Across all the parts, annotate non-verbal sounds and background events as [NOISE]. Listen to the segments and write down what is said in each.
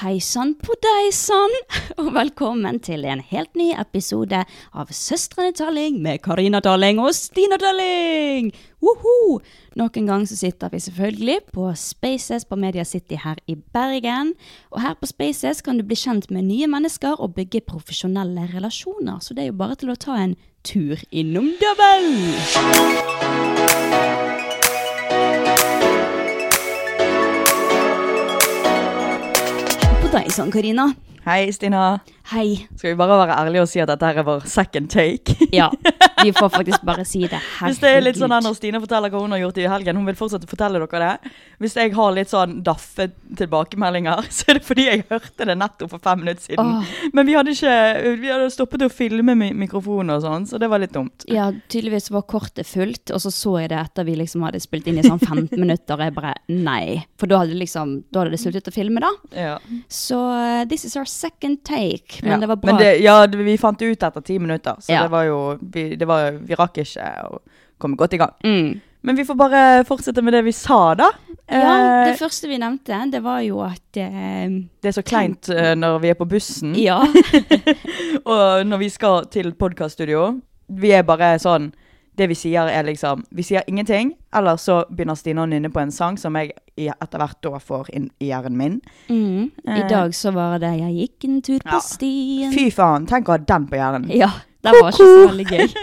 Hei sann på deg sann, [LAUGHS] og velkommen til en helt ny episode av Søstrene Talling med Karina Talling og Stina Talling! Woho! Nok en gang så sitter vi selvfølgelig på Spaces på Media City her i Bergen. Og her på Spaces kan du bli kjent med nye mennesker og bygge profesjonelle relasjoner, så det er jo bare til å ta en tur innom Double! På deg sann, Karina. Hei, Stina. Hei. Skal vi bare være ærlige og si at dette her er vår second take? Ja, vi [LAUGHS] får faktisk bare si det. Hvis det er litt sånn her Herregud. når Stine forteller hva hun har gjort i helgen, hun vil fortsette å fortelle dere det. Hvis jeg har litt sånn daffe tilbakemeldinger, [LAUGHS] så er det fordi jeg hørte det nettopp for fem minutter siden. Åh. Men vi hadde ikke Vi hadde stoppet å filme mi- mikrofonen og sånn, så det var litt dumt. Ja, tydeligvis var kortet fullt, og så så jeg det etter vi liksom hadde spilt inn i sånn [LAUGHS] 15 minutter, og jeg bare nei. For da hadde, liksom, da hadde det sluttet å filme, da. Ja. Så eh, this is our second take. Men Ja. det var bra. det- ja, det- vi fant det ut etter ti minutter, så Ja. det var jo vi, det var, vi rakk ikke å komme godt i gang. mm. Men vi får bare fortsette med det vi sa, da. ja, Eh, det første vi nevnte, det var jo at eh, Det er så kleint eh, når vi er på bussen, Ja. [LAUGHS] og når vi skal til podcaststudio. Vi er bare sånn Det vi sier, er liksom Vi sier ingenting, eller så begynner Stine å nynne på en sang som jeg i- etter hvert da får inn i hjernen min. Mm. I Eh. dag så var det 'Jeg gikk en tur på Ja. stien'. Fy faen, tenk å ha den på hjernen. Ja, det var ikke Ko-ko. så [LAUGHS] veldig gøy.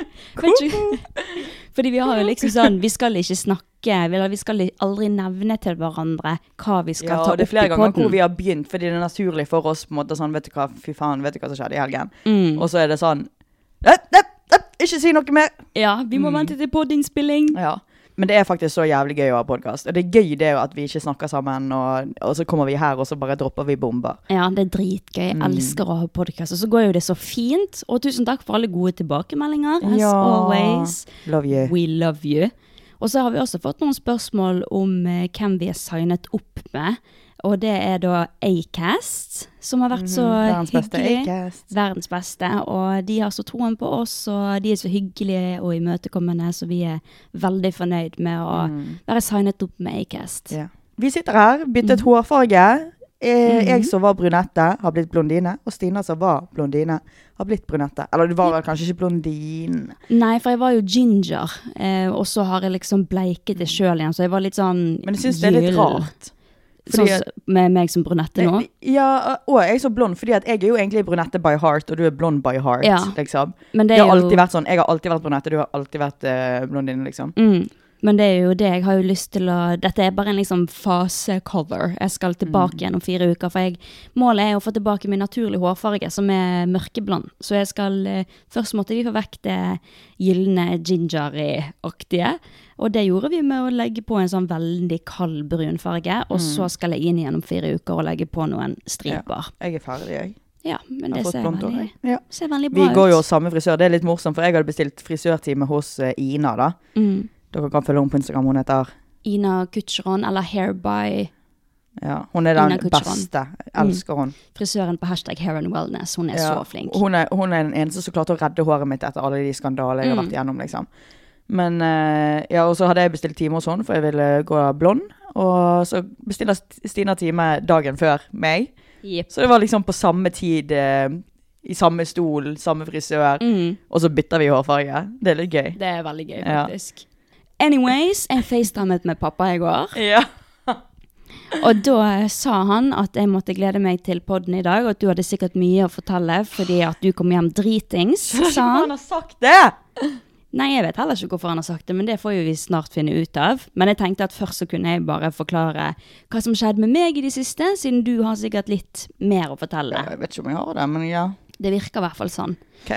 Vet ikke- [LAUGHS] Fordi vi har jo liksom sånn, vi skal ikke snakke, eller vi skal aldri nevne til hverandre hva vi skal Ja, og ta opp det er flere i ganger hvor vi podden. har begynt, fordi det er naturlig for oss på en måte sånn Vet du hva, fy faen, vet du hva som skjedde i helgen? Mm. Og så er det sånn «Øpp, øpp, øpp, Ikke si noe mer! Ja, vi må vente til podinnspilling. Mm. Ja. Men det er faktisk så jævlig gøy å ha podkast. Og det er gøy det er jo at vi ikke snakker sammen, og, og så kommer vi her, og så bare dropper vi bomber. Mm. Ja, det er dritgøy. Jeg elsker å ha podkast. Og så går jo det så fint. Og tusen takk for alle gode tilbakemeldinger. As Ja. always. Love you. We love you. Og så har vi også fått noen spørsmål om eh, hvem vi er signet opp med. Og det er da Acast, som har vært så Mhm, Verdens beste hyggelig. Acast. Verdens beste. Og de har så troen på oss, og de er så hyggelige og imøtekommende, så vi er veldig fornøyd med å være signet opp med Acast. Mhm. Mhm. Ja. Vi sitter her, byttet hårfarge. Eh, Jeg som var brunette, har blitt blondine. Og Stina som var blondine, har blitt brunette. Eller du var vel kanskje ikke blondine. Nei, for jeg var jo ginger, eh, og så har jeg liksom bleiket det sjøl igjen, så jeg var litt sånn Men jeg syns det er litt gyll. rart. Sånn fordi- som- med meg som brunette nå. Ja, og jeg er så blond, fordi at jeg er jo egentlig brunette by heart, og du er blond by heart, Ja. liksom. Men Det, det er har jo alltid vært sånn. Jeg har alltid vært brunette, du har alltid vært eh, blondine, liksom. Mm. Men det er jo det, jeg har jo lyst til å Dette er bare en liksom fasecover. Jeg skal Mm. tilbake igjen om fire uker, for jeg, målet er å få tilbake min naturlige hårfarge, som er mørkeblond. Så jeg skal eh, Først måtte vi få vekk det gylne gingery-aktige. Og det gjorde vi med å legge på en sånn veldig kald brun farge. Og Mm. så skal jeg inn igjen om fire uker og legge på noen striper. Jeg er ferdig, jeg. Ja, men Jeg har det fått ser blondt hår, veldig, jeg. Ja. ser veldig Vi bra ut. går jo hos samme frisør. Det er litt morsomt, for jeg hadde bestilt frisørtime hos eh, Ina. da. Mm. Dere kan følge henne på Instagram. Hun heter Ina Kutcheron, eller Hair by Ja, hun er Una den Kutcher. beste. Elsker hun. Mm. Frisøren på hashtag hair and wellness, hun er Ja, så flink. Hun er, hun er den eneste som klarte å redde håret mitt etter alle de skandaler jeg har Mm. vært igjennom, liksom. Men eh, ja, og så hadde jeg bestilt time hos henne, for jeg ville gå blond. Og så bestiller St- Stina time dagen før meg. Jepp. Så det var liksom på samme tid, eh, i samme stol, samme frisør. Og så bytter vi hårfarge. Det er litt gøy. Mm. Det er veldig gøy, Ja. faktisk. Anyways, jeg facetimet med pappa i går, [LAUGHS] Ja. og da eh, sa han at jeg måtte glede meg til podden i dag, og at du hadde sikkert mye å fortelle fordi at du kom hjem dritings, [LAUGHS] sa han. Han har sagt det! Nei, jeg vet heller ikke hvorfor han har sagt det, men det får jo vi snart finne ut av. Men jeg tenkte at først så kunne jeg bare forklare hva som skjedde med meg i det siste, siden du har sikkert litt mer å fortelle. Jeg vet ikke om jeg har det, men ja. Det virker i hvert fall sånn. Ok.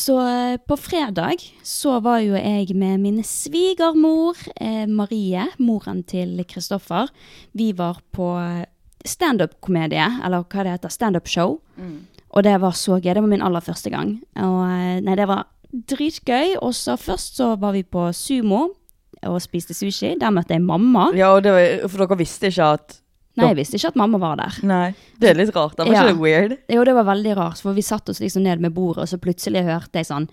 Så eh, på fredag så var jo jeg med min svigermor, eh, Marie, moren til Kristoffer. Vi var på eh, standup-komedie, eller hva det heter, standup-show. Og det var så gøy. Det var min aller første gang. Og eh, nei, det var dritgøy. Og så først så var vi på sumo og spiste sushi. Der møtte jeg mamma. Ja, og det var, for dere visste ikke at Nei, jeg visste ikke at mamma var der. Nei. Det er litt rart. Det var Ja. ikke det weird? Jo, det var veldig rart, for vi satt oss liksom ned med bordet, og så plutselig hørte jeg sånn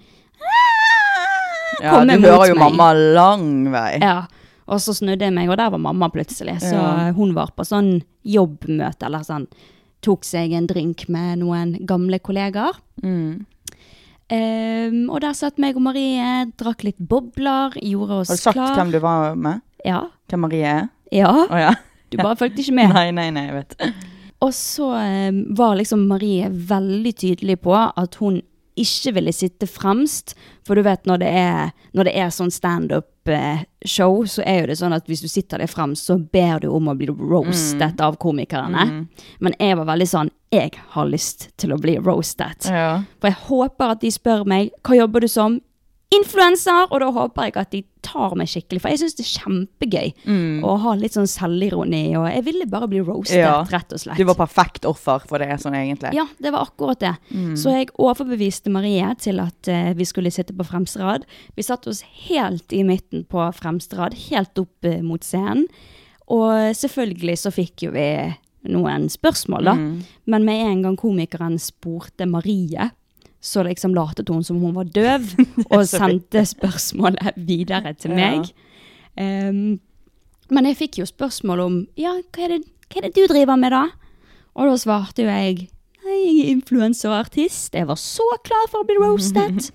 Ja, Kom du imot hører jo meg. mamma lang vei. Ja. Og så snudde jeg meg, og der var mamma plutselig. Så Ja. hun var på sånn jobbmøte, eller sånn Tok seg en drink med noen gamle kollegaer. Mm. Ehm, og der satt meg og Marie, drakk litt bobler, gjorde oss Har du sagt klar. hvem du var med? Ja. Hvem Marie er? Å ja. ja. Du bare fulgte ikke med. [LAUGHS] Nei, nei, nei, jeg vet. Og så eh, var liksom Marie veldig tydelig på at hun ikke ville sitte fremst. For du vet når det er, når det er sånn standup-show, så er jo det sånn at hvis du sitter der fremst, så ber du om å bli roastet av komikerne. Men jeg var veldig sånn Jeg har lyst til å bli roastet. Ja. For jeg håper at de spør meg hva jobber du som? Influenser! Og da håper jeg at de tar meg skikkelig, for jeg syns det er kjempegøy å ha litt sånn selvironi. Og jeg ville bare bli roastet, Mm. Ja. rett og slett. Du var perfekt offer for det, sånn egentlig. Mm. Ja, det var akkurat det. Så jeg overbeviste Marie til at eh, vi skulle sitte på fremste rad. Vi satte oss helt i midten på fremste rad, helt opp eh, mot scenen. Og selvfølgelig så fikk jo vi noen spørsmål, da. Mm. Men med en gang komikeren spurte Marie, så liksom latet hun som hun var [LAUGHS] døv, og sendte spørsmålet videre til meg. Ehm, men jeg fikk jo spørsmål om ja, hva er det, hva er det du driver med, da? Og da svarte jo jeg Nei, jeg er influenser og artist. Jeg var så klar for å bli [LAUGHS] roastet.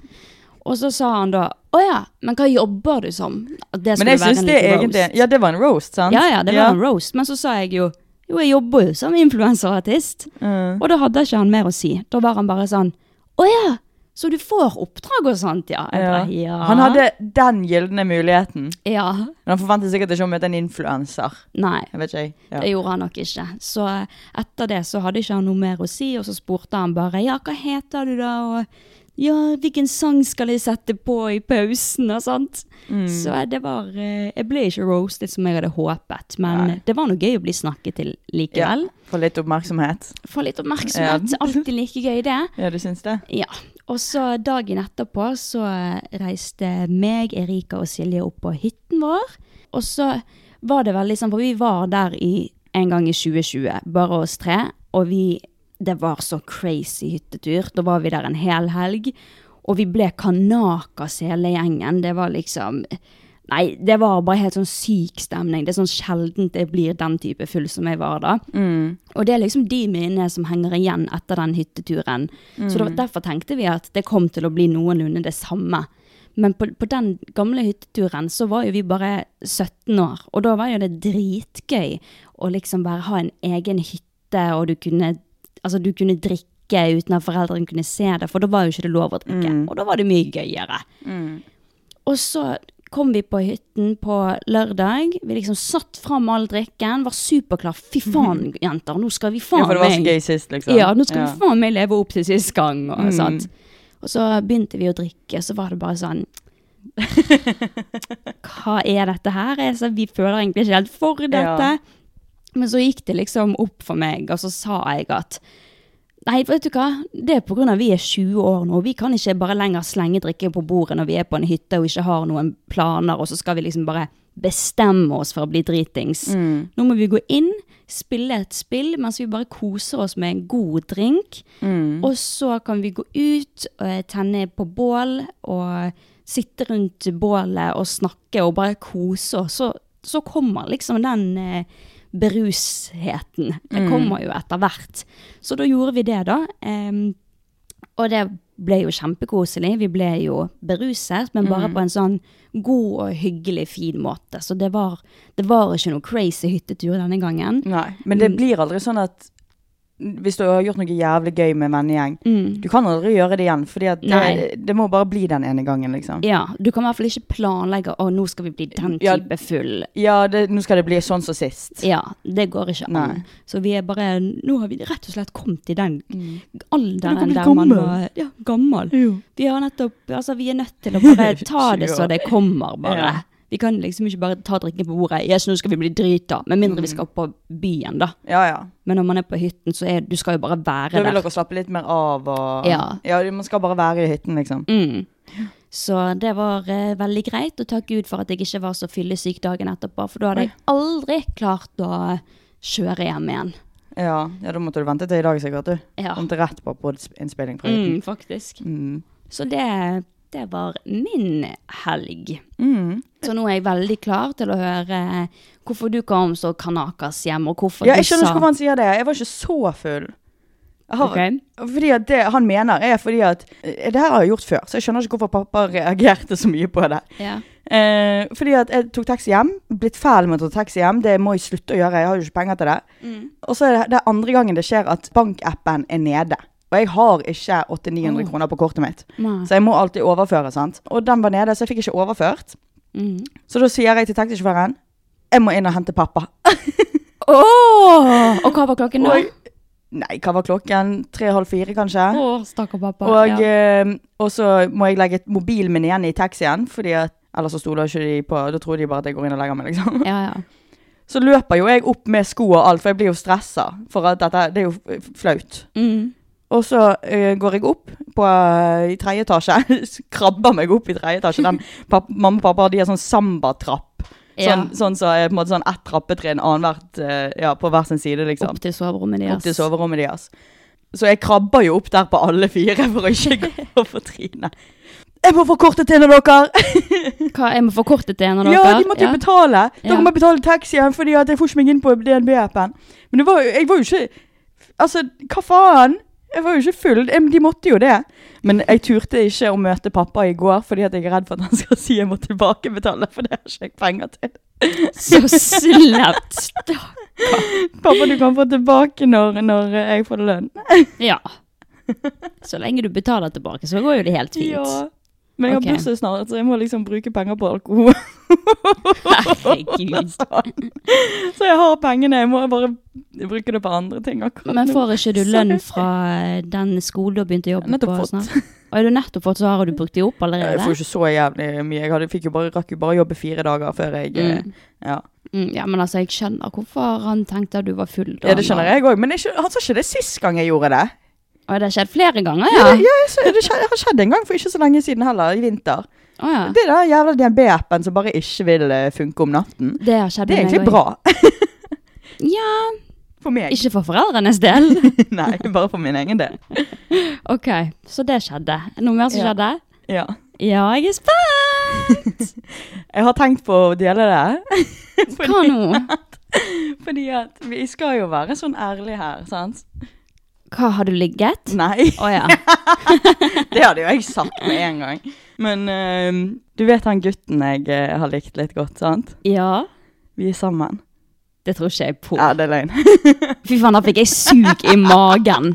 og så sa han da Å ja, men hva jobber du som? At det Men jeg skulle være syns en det liten egentlig roast. Ja, det var en roast, sant? Ja, ja, det var en roast. Men så sa jeg jo Jo, jeg jobber jo som influenserartist. Og da hadde ikke han mer å si. Da var han bare sånn Å ja, så du får oppdrag og sånt, ja? Jeg Ja. bare, ja. Han hadde den gylne muligheten. Ja. Men han forventet sikkert ikke å møte en influenser. Nei. Jeg vet ikke, jeg. Det Ja. gjorde han nok ikke. Så etter det så hadde ikke han noe mer å si, og så spurte han bare ja, hva heter du da, og ja, hvilken sang skal jeg sette på i pausen, og sånt. Mm. Så det var eh, Jeg ble ikke roasted som jeg hadde håpet, men det var noe gøy å bli snakket til ja. likevel. Få litt oppmerksomhet. Få litt oppmerksomhet. Ja. Alltid like gøy, det. [LAUGHS] Ja, du syns det? Ja. Og så dagen etterpå så reiste meg, Erika og Silje opp på hytten vår. Og så var det veldig sånn, for vi var der i, en gang i 2020, bare oss tre. Og vi, det var så crazy hyttetur. Da var vi der en hel helg. Og vi ble kanakas hele gjengen. Det var liksom Nei, det var bare helt sånn syk stemning. Det er sånn sjeldent jeg blir den type full som jeg var da. Mm. Og det er liksom de minnene som henger igjen etter den hytteturen. Så det var, derfor tenkte vi at det kom til å bli noenlunde det samme. Men på, på den gamle hytteturen så var jo vi bare 17 år, og da var jo det dritgøy å liksom bare ha en egen hytte, og du kunne, altså du kunne drikke uten at foreldrene kunne se det, for da var jo ikke det lov å drikke. Og da var det mye gøyere. Og så kom vi på hytten på lørdag. Vi liksom satt fram all drikken, var superklar. Fy faen, jenter, nå skal vi faen Mhm. Ja, for det var så meg- gøy sist, Mhm. liksom. Ja, nå skal vi faen meg leve opp til sist gang. Og, sånt. og så begynte vi å drikke, så var det bare [LAUGHS] sånn Hva er dette her? Altså, vi føler egentlig ikke helt for dette. Ja. Men så gikk det liksom opp for meg, og så sa jeg at Nei, vet du hva? Det er pga. vi er 20 år nå. Vi kan ikke bare lenger slenge drikke på bordet når vi er på en hytte og ikke har noen planer, og så skal vi liksom bare bestemme oss for å bli dritings. Nå må vi gå inn, spille et spill mens vi bare koser oss med en god drink. Og så kan vi gå ut, eh, tenne på bål og sitte rundt bålet og snakke og bare kose oss. Så, så kommer liksom den eh, berusheten. Det Mm. kommer jo etter hvert. Så da gjorde vi det, da. Em, og det ble jo kjempekoselig. Vi ble jo beruset, men bare Mm. på en sånn god og hyggelig, fin måte. Så det var, det var ikke noe crazy hyttetur denne gangen. Mm. Nei, men det blir aldri sånn at hvis du har gjort noe jævlig gøy med en vennegjeng, du kan aldri gjøre det igjen. Fordi at det, Mm. Nei. det må bare bli den ene gangen, liksom. Ja, Du kan i hvert fall ikke planlegge å nå skal vi bli den Ja. type full. Ja, det, nå skal det bli sånn som sist. Ja, Det går ikke an. Nei. Så vi er bare Nå har vi rett og slett kommet i den Mm. Nå kan alderen vi der man gammel. var ja, gammel. Vi har nettopp Altså, vi er nødt til å [LAUGHS] bare ta det så det kommer, bare. Ja. Vi kan liksom ikke bare ta drikken på bordet. Yes, nå skal vi bli drita. Med mindre vi skal opp på byen, da. Mm. Ja, ja. Men når man er på hytten, så er du skal jo bare være Da der. vil dere slappe litt mer av og Ja. man skal bare være i hytten, liksom. Mm. Så det var eh, veldig greit, og takk Gud for at jeg ikke var så fyllesyk dagen etterpå, for da hadde jeg aldri klart å kjøre hjem igjen. Ja. ja, da måtte du vente til i dag, sikkert. du. Ja. Kom til rett på podinnspilling fra hytten. Mm. Mm, faktisk. Så det, det var min helg. Mm. Så nå er jeg veldig klar til å høre hvorfor du kom så kanakas hjem, og hvorfor Ja, jeg du sa skjønner ikke hvorfor han sier det. Jeg var ikke så full. Jeg har, Ok. Fordi at det han mener, er fordi at eh, Det her har jeg gjort før, så jeg skjønner ikke hvorfor pappa reagerte så mye på det. Ja. Eh, fordi at jeg tok taxi hjem. Blitt fæl med å ta taxi hjem. Det må jeg slutte å gjøre. Jeg har jo ikke penger til det. Mm. Og så er det, det er andre gangen det skjer at bankappen er nede. Og jeg har ikke 800-900 kroner på kortet mitt. Nei. Så jeg må alltid overføre. sant? Og den var nede, så jeg fikk ikke overført. Mhm. Så da sier jeg til taxisjåføren jeg må inn og hente pappa. [LAUGHS] Åh! Og hva var klokken nå? Og, nei, hva var klokken? Tre-halv fire, kanskje? Å, stakkar pappa. Og, ja. eh, og så må jeg legge mobilen min igjen i taxien, fordi at ellers så stoler ikke de på Da tror de bare at jeg går inn og legger meg, liksom. ja, ja. [LAUGHS] Så løper jo jeg opp med sko og alt, for jeg blir jo stressa. For at dette Det er jo f- flaut. Mm. Og så eh, går jeg opp på, eh, i tredje etasje. [LAUGHS] Krabber meg opp i tredje etasje. Den, papp, mamma og pappa de har sånn sambatrapp. Ja. Sånn, sånn så er på en måte sånn ett trappetrinn annethvert eh, ja, på hver sin side, liksom. Opp til soverommet deres. Opp til soverommet deres. Så jeg krabber jo opp der på alle fire for å ikke [LAUGHS] gå for trynet. Jeg må få kortet til når dere! Hva, jeg må forkorte det når Ja, dere de måtte jo betale! Dere Ja. må betale taxien fordi at jeg får ikke meg inn på DNB-appen. Men det var, jo- jeg var jo ikke Altså, hva faen? Jeg var jo ikke full. Em, De måtte jo det. Men jeg turte ikke å møte pappa i går fordi at jeg er redd for at han skal si jeg må tilbakebetale, for det har ikke jeg penger til. Så slemt! Stakk. [LAUGHS] Pappa, du kan få tilbake når, når jeg får lønn. Ja. Så lenge du betaler tilbake, så går jo det helt fint. Ja. Men jeg har Ok. bursdag snart, så jeg må liksom bruke penger på alkohol. [LAUGHS] Sånn. Herregud. så jeg har pengene, jeg må bare bruke det på andre ting akkurat Men nå. får ikke du Så- lønn fra den skolen du har begynt å jobbe Nettopp på? fått. Snart? Og er du nettopp fått, så har du brukt de opp Jeg får allerede? ikke så jævlig mye. Jeg hadde, fikk jo bare, rakk jo bare jobbe fire dager før jeg eh, ja. Mm, ja, men altså, jeg skjønner hvorfor han tenkte at du var full. da ja, det han skjønner var- jeg òg, men jeg, skjø- han sa ikke det sist gang jeg gjorde det. Å, det har skjedd flere ganger, Ja, ja? jeg så- det skje- har skjedd en gang for ikke så lenge siden heller, i vinter. Å, ja. Det der jævla DNB-appen som bare ikke vil eh, funke om natten. Det har skjedd Det er med egentlig meg også. bra Ja, [LAUGHS] for meg. ikke for foreldrenes del. [LAUGHS] Nei, bare for min egen del. [LAUGHS] Ok, så det skjedde. Noe mer som Ja. skjedde? Ja. Ja, jeg er spent! [LAUGHS] Jeg har tenkt på å dele det. [LAUGHS] Hva nå? [LAUGHS] Fordi at vi skal jo være sånn ærlige her, sant? Hva, har du ligget? Nei, Å ja. [LAUGHS] det hadde jo jeg sagt med en gang. Men eh, du vet han gutten jeg eh, har likt litt godt, sant? Ja. Vi er sammen. Det tror ikke jeg på. Ja, det er løgn. [LAUGHS] Fy faen, da fikk jeg sug i magen.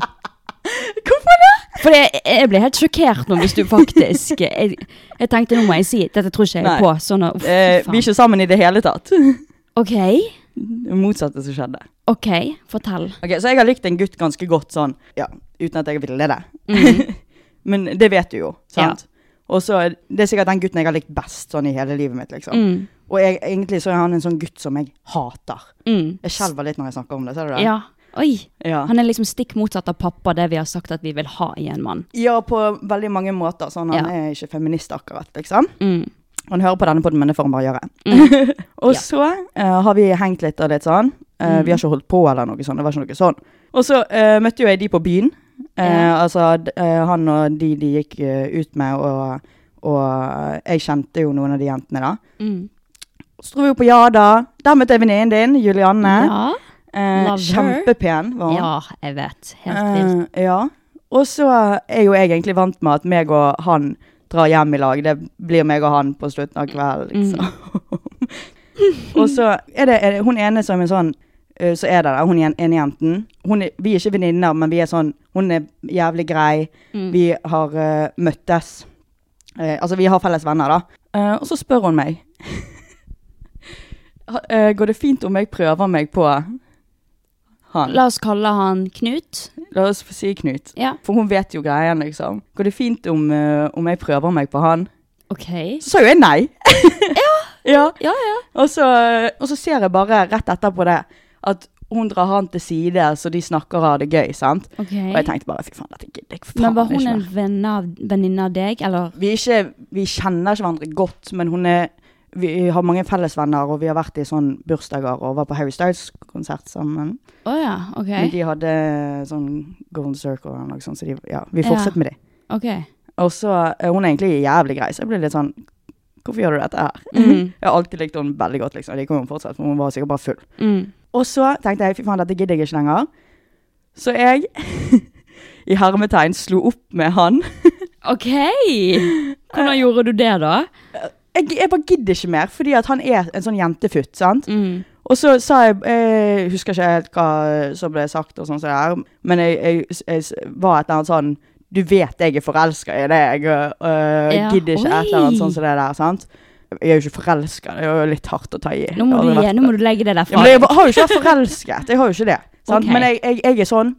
Hvorfor det? For jeg, jeg ble helt sjokkert nå, hvis du [LAUGHS] faktisk jeg, jeg tenkte nå må jeg si dette tror ikke jeg Nei. på. Sånn at, Eh, uff, vi er faen. ikke sammen i det hele tatt. [LAUGHS] Det OK, motsatte som skjedde. ok, fortell. Ok, Så jeg har likt en gutt ganske godt sånn, ja, uten at jeg ville det. Mm. [LAUGHS] Men det vet du jo, sant? Og så er- Det er sikkert den gutten jeg har likt best sånn i hele livet mitt, liksom. Mm. Og jeg, egentlig så er han en sånn gutt som jeg hater. Mm. Jeg skjelver litt når jeg snakker om det, ser du det? Ja. Oi! Ja. Han er liksom stikk motsatt av pappa, det vi har sagt at vi vil ha i en mann. Ja, på veldig mange måter. Sånn, Ja. han er ikke feminist akkurat, liksom. Mm. Han hører på denne podden, men det får han bare gjøre. og Ja. Mm. så eh, har vi hengt litt og litt sånn. Eh, Vi har ikke holdt på eller noe sånn, det var ikke noe sånn. Og så eh, møtte jo jeg de på byen. Eh, Ja. Altså, d- eh, han og de de gikk eh, ut med, og, og eh, jeg kjente jo noen av de jentene da. Mm. Så dro vi jo på Jada. Der møtte jeg venninnen din, Julianne. Ja. Eh, love her. kjempepen var hun. ja, jeg vet. Helt vilt. Eh, ja. Og så er jo jeg egentlig vant med at meg og han drar hjem i lag. Det blir meg og han på slutten av kvelden, Mm. liksom. [LAUGHS] og så er det, er det hun ene som er sånn eh, så er det der, hun jen- ene jenten. Hun er, vi er ikke venninner, men vi er sånn Hun er jævlig grei. Vi har eh, møttes. Eh, altså, vi har felles venner, da. Eh, og så spør hun meg Ha- eh, Går det fint om jeg prøver meg på han? La oss kalle han Knut. La oss få si Knut. Ja. For hun vet jo greien, liksom. Går det fint om, eh, om jeg prøver meg på han? OK. Så sa jo jeg nei. [LAUGHS] ja. [LAUGHS] Ja, ja. Og, så, eh, og så ser jeg bare rett etterpå det at hun drar han til side, så de snakker og har det gøy, sant? Ok. Og jeg tenkte bare fy faen, dette gidder jeg faen Men var hun ikke en mer. venn av- venninne av deg, eller? Vi, er ikke, vi kjenner ikke hverandre godt, men hun er vi har mange fellesvenner, og vi har vært i sånn bursdager og var på Haugstadskonsert sammen. Å ja, OK. Men de hadde sånn Golden Circle og noe sånt, så de, ja, vi Ja. fortsatte med det. Ok. Og så eh, Hun er egentlig jævlig grei, så jeg ble litt sånn Hvorfor gjør du dette her? Mm. [LAUGHS] Jeg har alltid likt henne veldig godt, liksom. og Det kommer hun fortsatt, for hun var sikkert bare full. Mm. Og så tenkte jeg fy faen, dette gidder jeg ikke lenger. Så jeg, [LAUGHS] i hermetegn, slo opp med han. OK! [LAUGHS] Hvordan gjorde du det, da? Jeg, jeg bare gidder ikke mer, fordi at han er en sånn jentefutt, sant. Mm. Og så sa jeg Jeg husker ikke helt hva som ble sagt, og sånn som det er, men jeg, jeg, jeg s- var et eller annet sånn Du vet jeg er forelska i deg, og øh, Ja. gidder ikke et eller annet Oi. sånn som det der, sant? Jeg er jo ikke forelska, det er jo litt hardt å ta i. Nå må, du, Jeg har aldri vært- nå må du legge det der ja, fra men jeg deg. har jo ikke vært forelsket, jeg har jo ikke det. Sant? Ok. Men jeg, jeg, jeg er sånn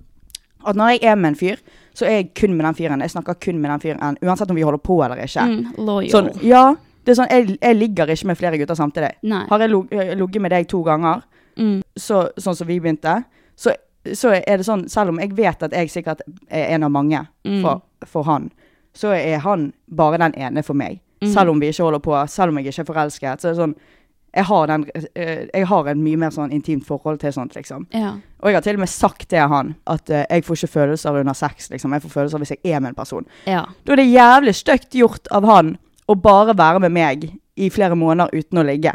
at når jeg er med en fyr, så er jeg kun med den fyren. Jeg snakker kun med den fyren, uansett om vi holder på eller ikke. Mm, loyal. Sånn, ja, det er sånn, jeg, jeg ligger ikke med flere gutter samtidig. Nei. Har jeg log- jeg ligget med deg to ganger, Mm. så, sånn som vi begynte, så, så er det sånn, selv om jeg vet at jeg sikkert er en av mange Mm. for, for han, så er han bare den ene for meg. Mm. Selv om vi ikke holder på, selv om jeg ikke er forelsket, så er det sånn, jeg har, den, eh, jeg har en mye mer sånn intimt forhold til sånt, liksom. Ja. Og jeg har til og med sagt til han at eh, jeg får ikke følelser under sex, liksom. Jeg får følelser hvis jeg er med en person. ja. Da er det jævlig støkt gjort av han å bare være med meg i flere måneder uten å ligge.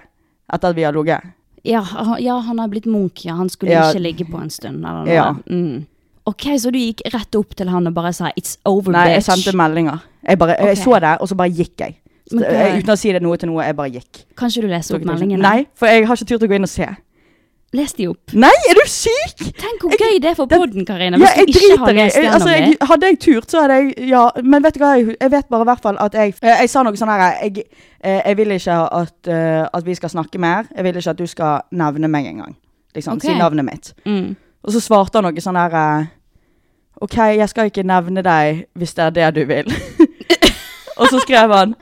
Etter at vi har ligget. Ja, han- ja, han har blitt munk, ja. Han skulle Ja. ikke ligge på en stund. Eller noe. Ja. Mm. Ok, så du gikk rett opp til han og bare sa 'it's over, Nei, jeg bitch'? sendte meldinger. Jeg, bare, jeg Ok. så det, og så bare gikk jeg. Men Så, hva- eh, Uten å si det noe til noe, jeg bare gikk. Kan ikke du lese Tok opp det ikke. meldingene? Nei, for jeg har ikke tur til å gå inn og se. Les de opp. Nei, er du syk?! Tenk hvor gøy det er for det- podden, Karina. Ja, Hvis jeg du ikke driter har i lest jeg- gjennom altså, jeg, det. Hadde jeg turt, så hadde jeg Ja, men vet du hva? Jeg, jeg vet bare i hvert fall at jeg eh, Jeg sa noe sånn her jeg, eh, jeg vil ikke at, eh, at vi skal snakke mer. Jeg vil ikke at du skal nevne meg engang. Liksom. Ok. Si navnet mitt. Mm. Og så svarte han noe sånn her eh, OK, jeg skal ikke nevne deg hvis det er det du vil. [LAUGHS] og så skrev han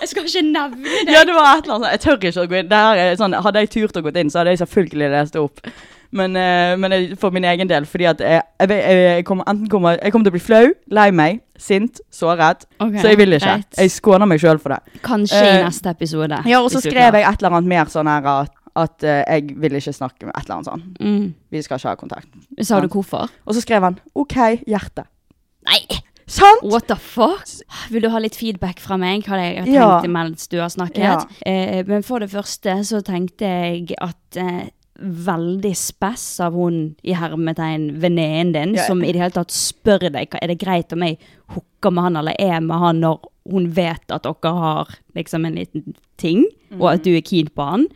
Jeg skal ikke nevne det. [LAUGHS] Ja, det var et eller annet sånn Jeg tør ikke å gå inn. Det her er sånn, hadde jeg turt å gå inn, så hadde jeg selvfølgelig lest det opp. Men, eh, men jeg, for min egen del, fordi at jeg, jeg, vet- jeg, jeg kommer enten kommer, jeg kommer til å bli flau, lei meg, sint, såret. Ok, så jeg vil ikke. greit. Jeg skåner meg sjøl for det. Kanskje i Eh, neste episode. Ja, Og så hvis du skrev klarer. jeg et eller annet mer sånn her at, at eh, jeg vil ikke snakke med et eller annet sånn. mm. Vi skal ikke ha kontakt. Sa du hvorfor? Og så skrev han OK, hjerte. Nei! Sant? What the fuck? Vil du ha litt feedback fra meg? Hva jeg har tenkt Ja. mens du har snakket? Ja. Eh, men for det første så tenkte jeg at eh, Veldig spess av hun i hermetegn venninnen din, Ja. som i det hele tatt spør deg hva- er det greit om jeg hooker med han eller er med han når hun vet at dere har liksom en liten ting, og Mm. at du er keen på han.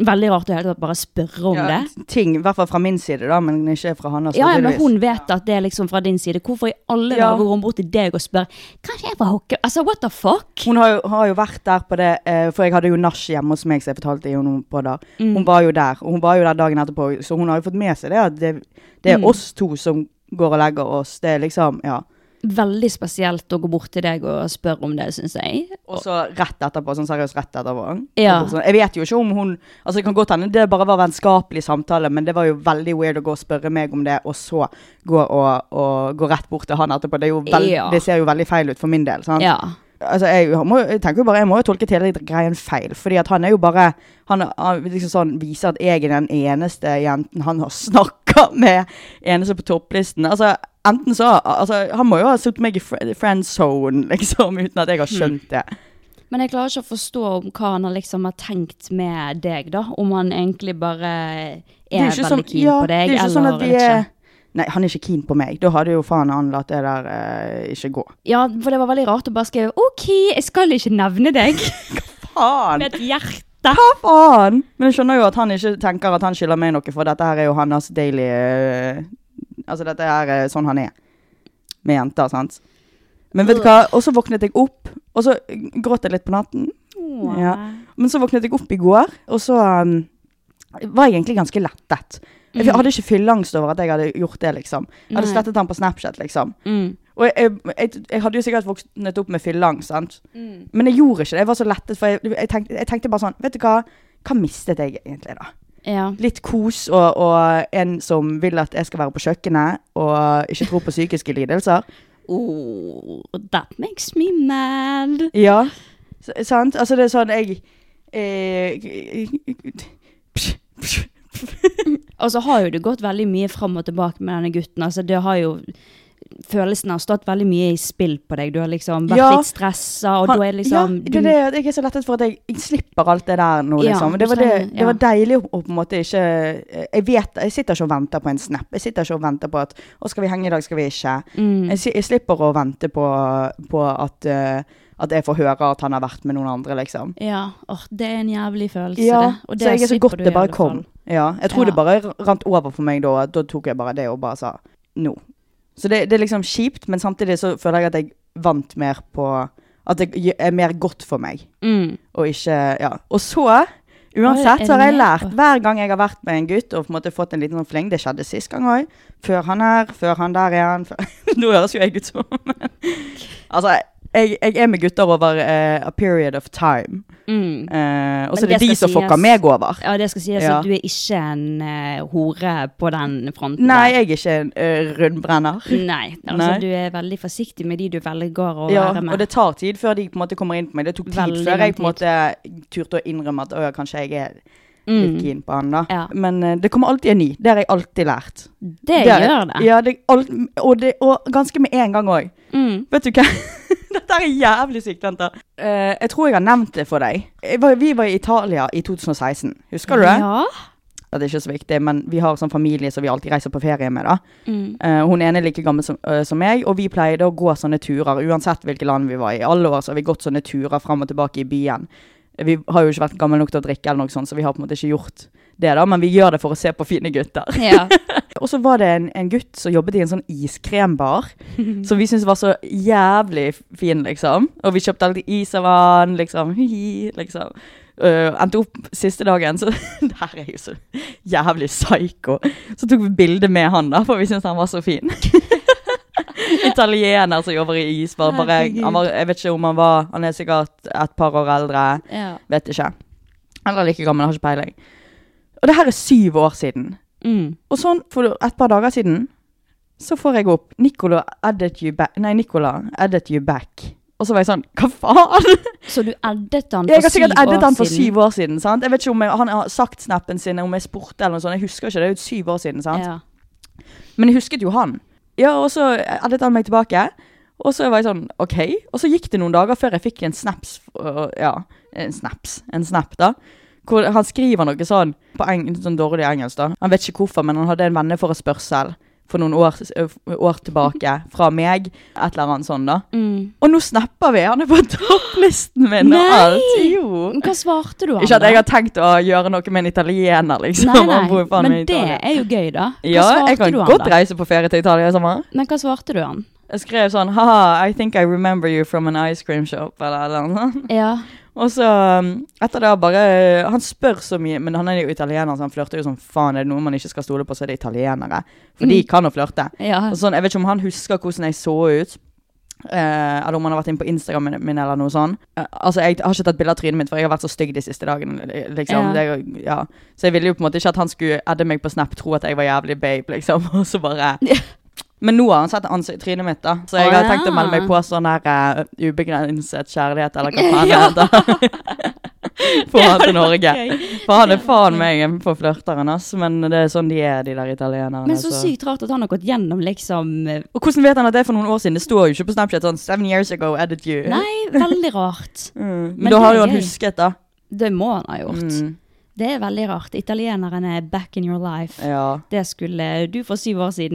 Veldig rart å i det hele tatt bare spørre om det. Ting, i hvert fall fra min side, da, men ikke fra hans. Ja, ja, men tydeligvis. hun vet at det er liksom fra din side. Hvorfor i alle Ja. dager går hun bort til deg og spør Kanskje jeg var hooker? Altså, what the fuck? Hun har jo, har jo vært der på det, eh, for jeg hadde jo nach hjemme hos meg, så jeg fortalte jo noe på der. Mm. Hun var jo der, og hun var jo der dagen etterpå, Mm. så hun har jo fått med seg det at det, det er oss to som går og legger oss. Det er liksom, ja. veldig spesielt å gå bort til deg og spørre om det, syns jeg. Og så rett etterpå, sånn seriøst rett etterpå. Ja. Sånn, Jeg vet jo ikke om hun Altså, det kan godt hende det bare var vennskapelig samtale, men det var jo veldig weird å gå og spørre meg om det, og så gå, og, og, gå rett bort til han etterpå. Det, er jo veld, Ja. det ser jo veldig feil ut for min del. sant? Ja. Altså, jeg, må, jeg tenker jo bare Jeg må jo tolke hele greien feil, fordi at han er jo bare Han, han liksom sånn, viser at jeg er den eneste jenten han har snakka med, eneste på topplisten. Altså, enten så altså, Han må jo ha satt meg i fr friend zone, liksom, uten at jeg har Mm. skjønt det. Men jeg klarer ikke å forstå om hva han har liksom har tenkt med deg, da. Om han egentlig bare er, Det jo veldig ikke sånn- keen ja, på deg, det er jo ikke eller sånn at vi ikke. er- Nei, han er ikke keen på meg. Da hadde jo faen han latt det der eh, ikke gå. Ja, for det var veldig rart å bare skrive OK, jeg skal ikke nevne deg Faen! med et hjerte. Hva faen? Men jeg skjønner jo at han ikke tenker at han skylder meg noe, for dette her er jo hans daily eh, Altså, dette her er sånn han er med jenter, sant? Men vet du hva? Og så våknet jeg opp, og så gråt jeg litt på natten. Ja. Men så våknet jeg opp i går, og så um, var jeg egentlig ganske lettet. Jeg hadde ikke fylleangst over at jeg hadde gjort det, liksom. Mm. Jeg hadde Nei. slettet han på Snapchat, liksom. Mm. Og jeg, jeg, jeg, jeg hadde jo sikkert våknet opp med fylleangst, sant? Mm. Men jeg gjorde ikke det. Jeg var så lettet, for jeg, jeg, tenkte, jeg tenkte bare sånn Vet du hva? Hva mistet jeg egentlig, da? Ja. Litt kos og, og en som vil at jeg skal være på kjøkkenet, og ikke tror på psykiske lidelser. Oh, that makes me mad. Ja. S sant? Altså, det er sånn jeg eh, psh, psh. Og så har jo det gått veldig mye fram og tilbake med denne gutten. Altså, det har jo Følelsen har stått veldig mye i spill på deg. Du har liksom vært Ja. litt stressa, og Han- da er liksom ja, det er det, at jeg er så lettet for at jeg, jeg slipper alt det der nå, Ja, liksom. du Det var, det, trenger- det var ja. deilig å, å på en måte ikke jeg, vet, jeg sitter ikke og venter på en snap. Jeg sitter ikke og venter på at Å, skal vi henge i dag? Skal vi ikke? Mm. Jeg, si- jeg slipper å vente på, på at, eh, at jeg får høre at han har vært med noen andre, liksom. Ja, åh, det er en jævlig følelse, Ja, det. Og det så jeg er så slipper godt du i det bare alle kom. fall. Ja, jeg Ja. tror det bare rant over for meg da. Da tok jeg bare det og bare sa no. Så det, det er liksom kjipt, men samtidig så føler jeg at jeg vant mer på At det gj- er mer godt for meg. Mm. og ikke Ja. Og så, Oi, er uansett, så har det jeg med? lært hver gang jeg har vært med en gutt og på en måte fått en liten sånn fleng Det skjedde sist gang òg. Før han her, før han der igjen. Før. [LAUGHS] Nå høres jo jeg ut som Altså, jeg, jeg er med gutter over eh, a period of time. Mm. Eh, og så Men er det, det de skal som sies. fucker meg over. Ja, det skal sies Ja. at du er ikke en eh, hore på den fronten. Nei, der. jeg er ikke en eh, rundbrenner. Nei, altså Nei. du er veldig forsiktig med de du velger å Ja, være med. og det tar tid før de på en måte kommer inn på meg. Det tok tid Veldig før lang jeg på en måte turte å innrømme at «Å ja, kanskje jeg er litt Mm. keen på han. da Ja. Men eh, det kommer alltid en ny. Det har jeg alltid lært. Det er- gjør det. Ja, det alt, og, det, og ganske med en gang òg. Mm. Vet du hva? [LAUGHS] Dette er jævlig sykt, vent da. Eh, jeg tror jeg har nevnt det for deg. Jeg var, vi var i Italia i 2016. Husker du det? Ja. Det er ikke så viktig, men vi har sånn familie som vi alltid reiser på ferie med. da. Mm. Eh, hun ene er like gammel som, øh, som meg, og vi pleide å gå sånne turer uansett hvilke land vi var i. I alle år så har vi gått sånne turer fram og tilbake i byen. Vi har jo ikke vært gammel nok til å drikke, eller noe sånt, så vi har på en måte ikke gjort det, da, men vi gjør det for å se på fine gutter. [LAUGHS] ja. Og så var det en, en gutt som jobbet i en sånn iskrembar, som vi syntes var så jævlig fin, liksom. Og vi kjøpte alltid is av han, liksom. [LAUGHS] Hihi, liksom. Øh, endte opp siste dagen, så [LAUGHS] det her er jo så jævlig psyko. Så tok vi bilde med han, da, for vi syntes han var så fin. Italiener som jobber i isbar. Bare, han var, jeg vet ikke om han var Han er sikkert et par år eldre. ja. Vet ikke. Eller like gammel, har ikke peiling. Og det her er syv år siden. Mm. Og sånn, for et par dager siden, så får jeg opp Nicola added you back Nei, Nicola added you back. Og så var jeg sånn, hva faen? Så du eddet han for syv år siden? [LAUGHS] Jeg har sikkert [LAUGHS] eddet han for syv år siden, sant? Jeg vet ikke om jeg, han har sagt snappen sin, om jeg spurte eller noe sånt. Jeg husker ikke, det er jo syv år siden, sant? Ja. Men jeg husket jo han. Ja, og så eddet han meg tilbake. Og så var jeg sånn, ok. Og så gikk det noen dager før jeg fikk en snaps, øh, ja, en snaps, en snap da. Hvor han skriver noe sånn, på eng sånn dårlig engelsk da. Han vet ikke hvorfor, men han hadde en venneforespørsel for noen år, øh, år [LAUGHS] tilbake fra meg, et eller annet sånn da. Mm. Og nå snapper vi, han er på [LAUGHS] topplisten min og Nei! alt. Jo. Men Hva svarte du han Ikke at da? jeg har tenkt å gjøre noe med en italiener [LAUGHS] liksom. Nei, Han bor jo nei, faen men meg i det Italia. er jo gøy, da. Hva Ja, jeg svarte kan du han godt da? reise på ferie til Italia i sommer. Men hva svarte du han? Jeg skrev sånn Haha, I think I remember you from an ice cream shop Eller eller noe sånt Ja. Og så um, etter det bare Han spør så mye Men han er jo italiener Så han flørter jo sånn Faen, er det noe man ikke skal stole på Så er det italienere For de kan jo flørte Mm. ja. Og sånn, jeg vet ikke om han husker hvordan jeg så ut Eh, eller om han har vært inne på Instagram min, min eller noe sånt. Eh, altså, jeg har ikke tatt bilde av trynet mitt, for jeg har vært så stygg de siste dagene. li- Ja. Liksom. Det er jo- ja. Så jeg ville jo på en måte ikke at han skulle adde meg på Snap, tro at jeg var jævlig babe, liksom. [LAUGHS] Og så bare Men nå har han sett ansi- trynet mitt, da. Så jeg Å, har ja. tenkt å melde meg på sånn her eh, ubegrenset kjærlighet, eller hva faen [LAUGHS] Ja. det heter. Få han Det hadde vært til Norge. gøy. For han er Det hadde vært faen meg en forflørteren, ass. Men det er sånn de er, de der italienerne. Men så så- sykt rart at han har gått gjennom liksom eh, Og hvordan vet han at det er for noen år siden? Det står jo ikke på Snapchat sånn 'Seven years ago, edit you'. Nei, veldig rart. Mm. Men, Men det da har er jo han gøy. husket, da. Det må han ha gjort. Mm. Det er veldig rart. Italienerne er back in your life. Ja. Det skulle du for syv år siden.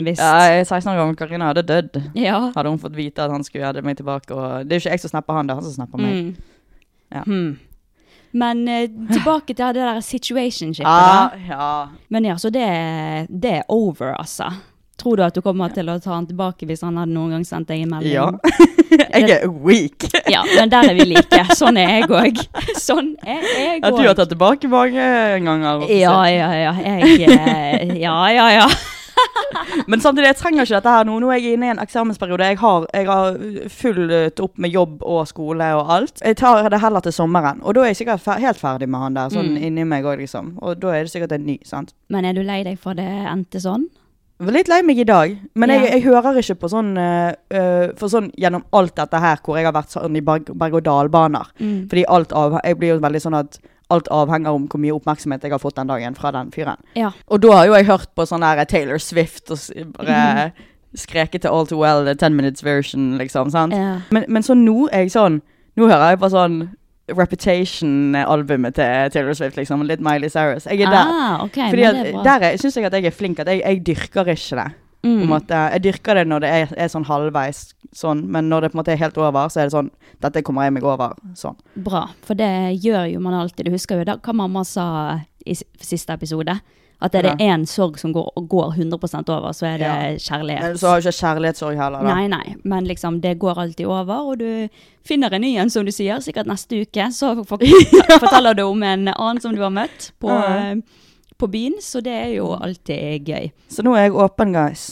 Visst. ja jeg er 16 år gammel Karina hadde dødd. Ja. Hadde hun fått vite at han skulle adde meg tilbake. Og det er jo ikke jeg som snapper han, det er han som snapper meg. Mm. Ja. Hmm. Men eh, tilbake til det der situationshipet, Ja, da. Ah, ja. Men ja, så det, det er over, altså. Tror du at du kommer til å ta han tilbake hvis han hadde noen gang sendt deg en melding? [LAUGHS] ja. jeg er weak. Ja, men der er vi like. Sånn er jeg òg. Sånn er jeg At du har òg. tatt tilbake mange ganger. Ja, ja, ja. Jeg eh, Ja, ja, ja. Men samtidig, jeg trenger ikke dette her nå. Nå er jeg inne i en eksamensperiode. Jeg har, jeg har fulgt opp med jobb og skole og alt. Jeg tar det heller til sommeren. Og da er jeg sikkert fe helt ferdig med han der, sånn inni meg òg, liksom. Og da er det sikkert en ny, sant. Mm. Men er du lei deg for det endte sånn? Jeg var litt lei meg i dag, men jeg, Ja. jeg hører ikke på sånn eh, eh, For sånn gjennom alt dette her hvor jeg har vært sånn i berg- berg-og-dal-baner. Mm. Fordi alt av Jeg blir jo veldig sånn at alt avhenger om hvor mye oppmerksomhet jeg har fått den dagen fra den fyren. Ja. Og da har jo jeg hørt på sånn der Taylor Swift og s- Mm-hmm. bare skreket til All Too Well, the 10 minutes version, liksom, sant? Ja. Men, men så nå er jeg sånn, nå hører jeg på sånn Reputation-albumet til Taylor Swift, liksom, litt Miley Cyrus. Jeg er der. Ah, ok, Fordi men at, det er bra. Mm. der er, synes jeg at jeg er flink, at jeg, jeg dyrker ikke det. På en måte, jeg dyrker det når det er, er sånn halvveis, sånn, men når det på en måte er helt over, så er det sånn, dette kommer jeg meg over, sånn. Bra, for det gjør jo man alltid. Du husker jo da, hva mamma sa i s- siste episode? At er det én sorg som går, går 100 over, så er det Men kjærlighet. Så har jeg ikke kjærlighetssorg heller, da. Nei, nei, men liksom det går alltid over, og du finner en ny en, som du sier, sikkert neste uke. Så [LAUGHS] for- forteller du om en annen som du har møtt på, Ja. eh, på byen, så det er jo alltid gøy. Så nå er jeg åpen, guys.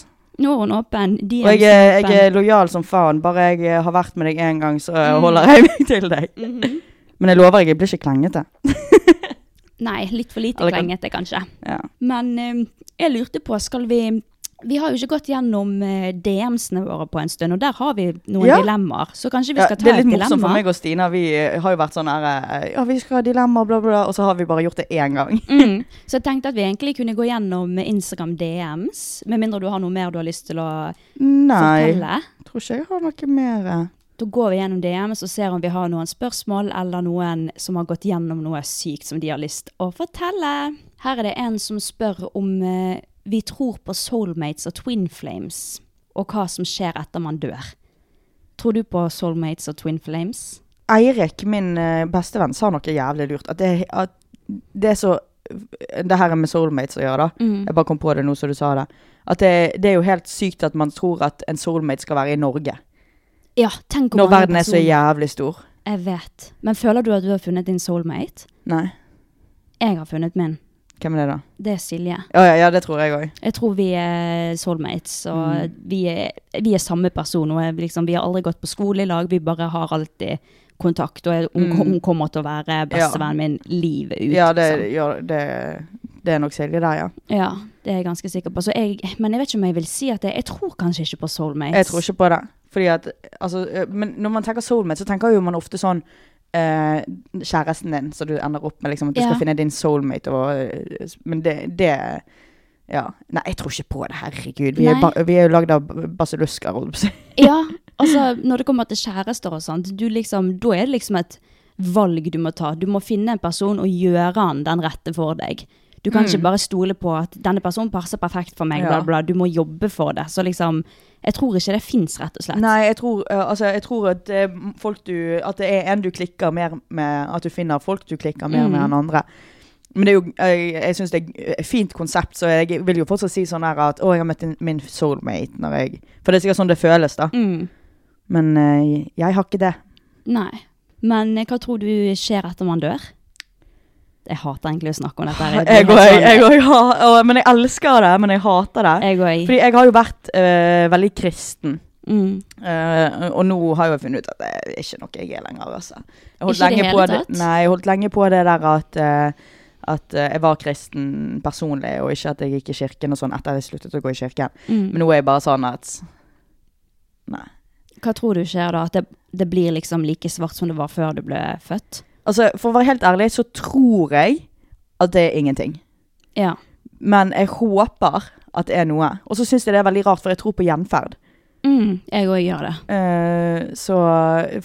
Nå er hun åpen. De Og jeg, er- jeg er åpen. Mm. lojal som faen. Bare jeg eh, har vært med deg én gang, så eh, holder jeg meg til deg. Mhm. Men jeg lover, jeg blir ikke klengete. [LAUGHS] Nei, litt for lite Eller kan- klengete, kanskje. Ja. Men eh, jeg lurte på, skal vi Vi har jo ikke gått gjennom eh, DMs-ene våre på en stund, og der har vi noen Ja. dilemmaer. Så kanskje vi Ja, skal det ta er et litt morsomt for dilemma? meg og Stina. Vi eh, har jo vært sånn her eh, Ja, vi skal ha dilemma, bla, bla, bla. Og så har vi bare gjort det én gang. Mm. Så jeg tenkte at vi egentlig kunne gå gjennom Instagram DMs, med mindre du har noe mer du har lyst til å Nei. fortelle. Tror ikke jeg har noe mer. eh. Da går vi gjennom DMs og ser om vi har noen spørsmål eller noen som har gått gjennom noe sykt som de har lyst å fortelle. Her er det en som spør om eh, vi tror på soulmates og twin flames, og hva som skjer etter man dør. Tror du på soulmates og twin flames? Eirik, min eh, bestevenn, sa noe jævlig lurt. At det, at det er så det her er med soulmates å gjøre, da. Mm. Jeg bare kom på det nå som du sa det. At det, det er jo helt sykt at man tror at en soulmate skal være i Norge. Ja, tenk om Når mange verden er så personer- jævlig stor. Jeg vet. Men føler du at du har funnet din soulmate? Nei. Jeg har funnet min. Hvem er det, da? Det er Silje. Å ja, ja, det tror jeg òg. Jeg tror vi er soulmates, og Mm. vi, er, vi er samme person. Og jeg- liksom, vi har aldri gått på skole i lag, vi bare har alltid kontakt. Og jeg- hun, hun kommer til å være bestevennen min livet ut. Mm. Ja, det, liksom. ja det, det er nok Silje der, ja. ja, det er jeg ganske sikker på. Så jeg, men jeg vet ikke om jeg vil si at jeg, jeg tror kanskje ikke på soulmates. Jeg tror ikke på det. Fordi at, altså, eh, men når man tenker soulmate, så tenker jo man ofte sånn eh, Kjæresten din, så du ender opp med liksom, at du Ja. skal finne din soulmate. Og, eh, men det, det ja. Nei, jeg tror ikke på det. Herregud. Vi, er, Nei. ba, vi er jo lagd av basillusker. holdt jeg på å si. [LAUGHS] Ja, altså når det kommer til kjærester og sånt, du liksom, da er det liksom et valg du må ta. Du må finne en person og gjøre han den rette for deg. Du kan ikke bare stole på at 'denne personen passer perfekt for meg', Mm. bla, Ja. bla. Du må jobbe for det. Så liksom Jeg tror ikke det fins, rett og slett. Nei, jeg tror, eh, altså, jeg tror at, eh, folk du, at det er en du klikker mer med, at du finner folk du klikker Mm. mer med enn andre. Men det er jo, jeg, jeg syns det er et fint konsept, så jeg vil jo fortsatt si sånn her at å, jeg har møtt min soulmate når jeg For det er sikkert sånn det føles, da. Mm. Men eh, jeg har ikke det. Nei. Men eh, hva tror du skjer etter man dør? Jeg hater egentlig å snakke om dette. her. [LAUGHS] Jeg blir òg. helt sånn- Men jeg elsker det, men jeg hater det. Jeg òg. Fordi jeg har jo vært eh, veldig kristen. Mm. Eh, og nå har jeg jo funnet ut at det er ikke noe jeg er lenger. Altså. Jeg holdt Ikke i det lenge hele på tatt? Nei, jeg holdt lenge på det der at, eh, at eh, jeg var kristen personlig, og ikke at jeg gikk i kirken og sånn etter jeg sluttet å gå i kirken. Mm. Men nå er jeg bare sånn at Nei. Hva tror du skjer da? At det, det blir liksom like svart som det var før du ble født? Altså, for å være helt ærlig, så tror jeg at det er ingenting. Ja. Men jeg håper at det er noe. Og så syns jeg det er veldig rart, for jeg tror på gjenferd. Mm, jeg òg gjør det. Eh, så,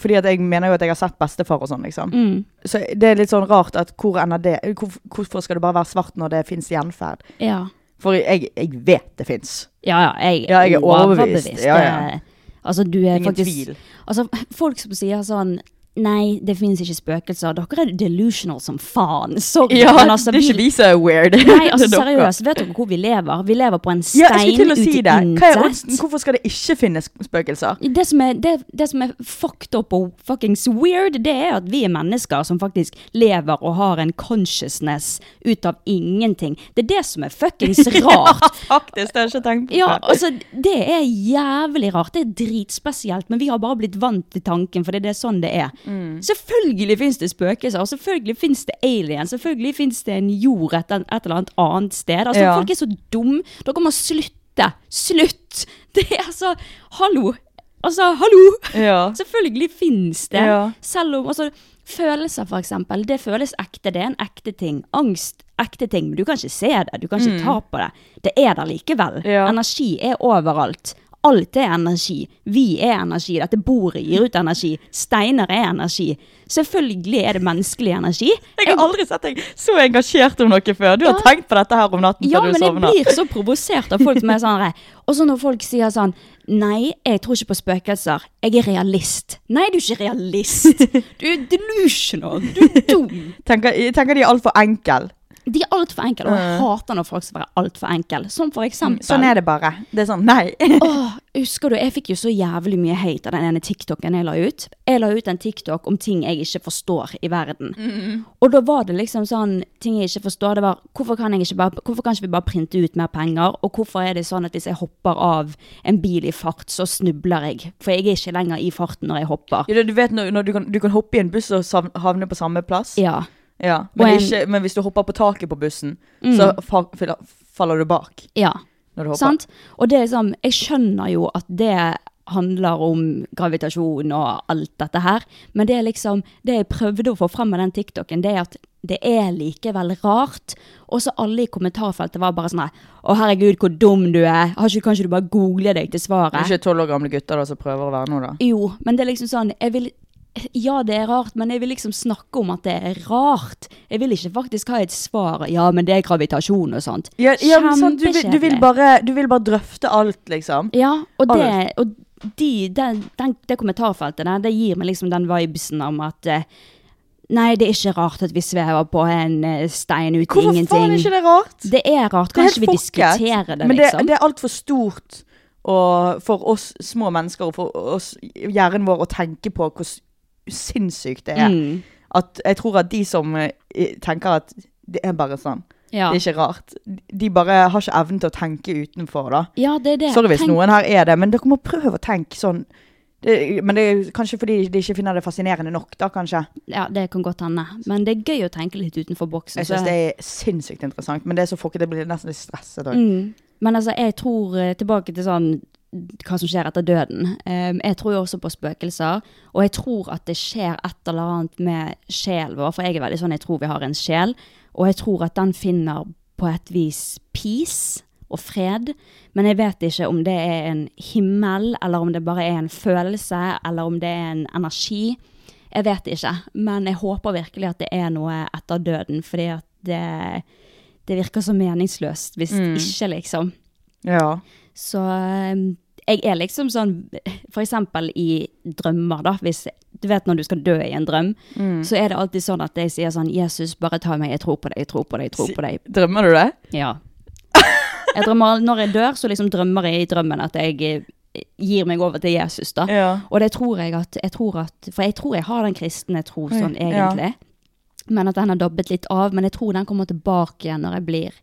fordi at jeg mener jo at jeg har sett bestefar og sånn, liksom. Mm. Så det er litt sånn rart at hvor ender det hvor, Hvorfor skal det bare være svart når det fins gjenferd? Ja. For jeg, jeg vet det fins. Ja, ja, jeg, Ja, jeg er overbevist. Ja, ja. Det- Altså, du er Ingen faktisk tvil. Altså, folk som sier sånn Nei, det finnes ikke spøkelser. Dere er delusional som faen. Sorry. men altså, vi- som er weird. [LAUGHS] Nei, altså Det er dere. seriøst, vet dere hvor vi lever? Vi lever på en stein Ja, jeg skulle til å si ute i det. Hva er intet. oddsen? Hvorfor skal det ikke finnes spøkelser? Det som, er, det, det som er fucked up og fuckings weird, det er at vi er mennesker som faktisk lever og har en consciousness ut av ingenting. Det er det som er [LAUGHS] fuckings rart. Faktisk, det har jeg ikke tenkt på. Ja, altså, det er jævlig rart. Det er dritspesielt, men vi har bare blitt vant til tanken, for det er sånn det er. Mm. Selvfølgelig fins det spøkelser, og selvfølgelig fins det aliens, selvfølgelig fins det en jord et, et eller annet annet sted. Altså, Ja. folk er så dumme. Dere må slutte. Slutt! [LAUGHS] Det er altså Hallo! Altså, hallo! Ja. [LAUGHS] Selvfølgelig fins det. Ja. Selv om altså, Følelser, for eksempel. Det føles ekte. Det er en ekte ting. Angst, ekte ting. Men du kan ikke se det. Du kan ikke ta på det. Det er der likevel. Mm. Ja. Energi er overalt. Alt er energi. Vi er energi. Dette bordet gir ut energi. Steiner er energi. Selvfølgelig er det menneskelig energi. Jeg har aldri sett deg så engasjert om noe før. Du har Ja. tenkt på dette her om natten Ja, før du men jeg sovner. blir så provosert av folk som er sånn her, Og så når folk sier sånn Nei, jeg tror ikke på spøkelser. Jeg er realist. Nei, du er ikke realist. Du er delusional. Du er dum. [LAUGHS] Tenker, jeg tenker de er altfor enkle. De er altfor enkle, og jeg hater når folk skal være altfor enkle. Som for eksempel Sånn er det bare. Det er sånn, nei. Åh, husker du, jeg fikk jo så jævlig mye hate av den ene TikToken jeg la ut. Jeg la ut en TikTok om ting jeg ikke forstår i verden. Mm. Og da var det liksom sånn, ting jeg ikke forstår, det var hvorfor kan, jeg ikke bare, hvorfor kan ikke vi bare printe ut mer penger? Og hvorfor er det sånn at hvis jeg hopper av en bil i fart, så snubler jeg? For jeg er ikke lenger i farten når jeg hopper. Ja, du vet når, når du, kan, du kan hoppe i en buss og savn- havne på samme plass. Ja. Ja, men, Og en- Mm. ikke, men hvis du hopper på taket på bussen, så fa fa- faller du bak ja. når du hopper. Sant? Og det er liksom, jeg skjønner jo at det handler om gravitasjon og alt dette her, men det er liksom, det jeg prøvde å få frem med den TikToken, det er at det er likevel rart. Og så alle i kommentarfeltet var bare sånn her, å herregud, hvor dum du er. Har ikke, kanskje du bare googler deg til Det er svaret? ikke tolv år gamle gutter da, som prøver å være noe, da. Jo, men det er liksom sånn, jeg vil... Ja, det er rart, men jeg vil liksom snakke om at det er rart. Jeg vil ikke faktisk ha et svar. Ja, men det er gravitasjon og sånt. Ja, ja, men sant, du, vil- du, vil Kjempekjedelig. bare, du vil bare drøfte alt, liksom. Ja, og det, Alt. og de, den, den, det kommentarfeltet der, det gir meg liksom den vibesen om at eh, Nei, det er ikke rart at vi svever på en eh, stein ut i Hvorfor ingenting. faen er ikke det rart? Det er rart. Det er helt Kanskje vi fucket. diskuterer det, Men det, liksom. det er altfor stort å- for oss små mennesker og for oss, hjernen vår å tenke på hvor s- sinnssykt det er. Mm. At jeg tror at de som eh, tenker at det er bare sånn, Ja. det er ikke rart, de bare har ikke evnen til å tenke utenfor, da. ja, det er det. Sorry hvis Tenk- noen her er det, men dere må prøve å tenke sånn. Det, men det er kanskje fordi de ikke finner det fascinerende nok, da, kanskje. Ja, det kan godt hende. Men det er gøy å tenke litt utenfor boksen. Jeg så- syns det er sinnssykt interessant, men det er så fucket, det blir nesten litt stresset òg. Mm. Men altså, jeg tror eh, tilbake til sånn hva som skjer etter døden. Em, jeg tror jo også på spøkelser, og jeg tror at det skjer et eller annet med sjelen vår, for jeg er veldig sånn, jeg tror vi har en sjel, og jeg tror at den finner på et vis peace og fred, men jeg vet ikke om det er en himmel, eller om det bare er en følelse, eller om det er en energi. Jeg vet ikke, men jeg håper virkelig at det er noe etter døden, fordi at det, det virker så meningsløst hvis ikke, liksom. Ja. Så um, jeg er liksom sånn For eksempel i drømmer, da. Hvis, du vet når du skal dø i en drøm, Mm. så er det alltid sånn at jeg sier sånn Jesus, bare ta meg, jeg tror på deg, jeg tror på deg, jeg tror på deg. Drømmer du det? Ja. Jeg drømmer, når jeg dør, så liksom drømmer jeg i drømmen at jeg eh, gir meg over til Jesus, da. Ja. Og det tror jeg at, jeg tror at For jeg tror jeg har den kristne tro sånn Oi, ja. egentlig. Men at den har dobbet litt av. Men jeg tror den kommer tilbake igjen når jeg blir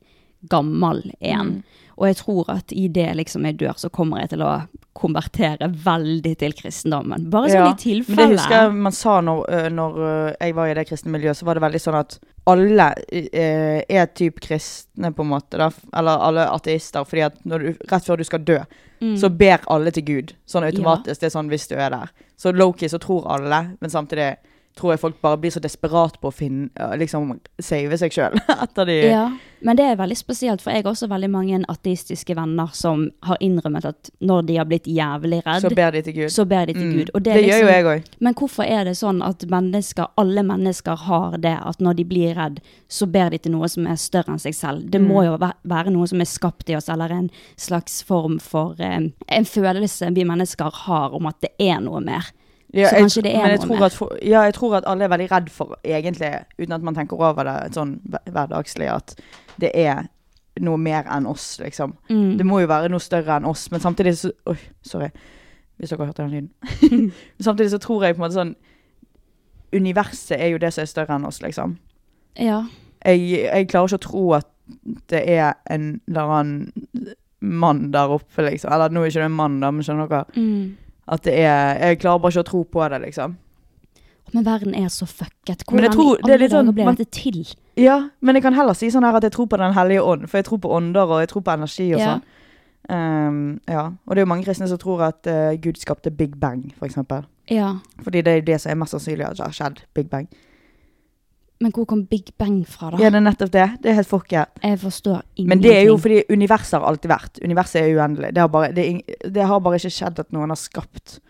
gammel igjen. Mm. Og jeg tror at i det liksom jeg dør, så kommer jeg til å konvertere veldig til kristendommen. Bare sånn Ja, i Men det tilfelle. husker jeg man sa når, øh, når øh, jeg var i det kristne miljøet, så var det veldig sånn at alle øh, er typ kristne, på en måte. Da, f- eller alle ateister. fordi at når du, rett før du skal dø, Mm. så ber alle til Gud. Sånn automatisk. Det er sånn hvis du er der. Så Loki så tror alle, men samtidig tror jeg folk bare blir så desperat på å finne øh, Liksom save seg sjøl [LAUGHS] etter de Ja, men det er veldig spesielt, for jeg har også veldig mange ateistiske venner som har innrømmet at når de har blitt jævlig redd, Så ber de til Gud. så ber de til Mm. Gud. Og det det, er liksom, gjør jo jeg òg. Men hvorfor er det sånn at mennesker, alle mennesker har det at når de blir redd, så ber de til noe som er større enn seg selv? Det Mm. må jo væ- være noe som er skapt i oss, eller en slags form for eh, En følelse vi mennesker har om at det er noe mer. så kanskje det er men jeg noe tror mer. At for, ja, jeg tror at alle er veldig redd for, egentlig, uten at man tenker over det sånn hver- hverdagslig, at det er noe mer enn oss, liksom. Mm. Det må jo være noe større enn oss, men samtidig så Oi, sorry. Hvis dere hørte den lyden. [LAUGHS] Men samtidig så tror jeg på en måte sånn Universet er jo det som er større enn oss, liksom. Ja. Jeg, jeg klarer ikke å tro at det er en eller annen mann der oppe, liksom. Eller nå er ikke det en mann, da, men skjønner dere? Mm. At det er Jeg klarer bare ikke å tro på det, liksom. Men verden er så fucket. Men Hvordan jeg tror- i det er alle litt sånn- dager ble man- dette til? Ja, men jeg kan heller si sånn her at jeg tror på Den hellige ånd, for jeg tror på ånder og jeg tror på energi og Ja. sånn. Ehm, ja. Og det er jo mange kristne som tror at eh, Gud skapte Big Bang, for eksempel. Ja. Fordi det er det som er mest sannsynlig at har skjedd. Big Bang. Men hvor kom Big Bang fra, da? Ja, det er nettopp det. Det er helt fucket. Jeg forstår ingenting. Men det er jo fordi universet har alltid vært. Universet er uendelig. Det har bare, det er, ing- det har bare ikke skjedd at noen har skapt.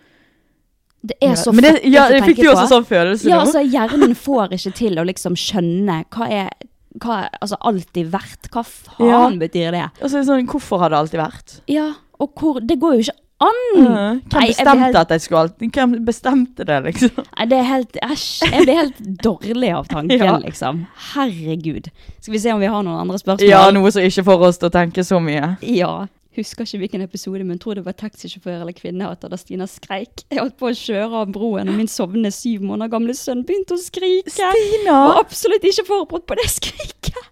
Det er så Men det, fucket ja, å jeg fikk tenke jo på. også sånn følelse Ja, nå. altså hjernen får ikke til å liksom skjønne hva er, hva er altså alltid verdt. Hva faen Ja. betyr det? Og så er det sånn, hvorfor har det alltid vært? Ja, og hvor Det går jo ikke Mm. an! Nei, Hvem jeg blir bestemte helt- at jeg skulle alltid Hvem bestemte det, liksom? Nei, det er helt Æsj. Jeg blir helt dårlig av [LAUGHS] tanken, Ja. liksom. Herregud. Skal vi se om vi har noen andre spørsmål? Ja, noe som ikke får oss til å tenke så mye. Ja. Husker ikke hvilken episode, men tror det var taxisjåfør eller kvinne og at da Stina skreik. Jeg holdt på å kjøre av broen, og min sovnende syv måneder gamle sønn begynte å skrike. Stina! Var absolutt ikke forberedt på det skriket.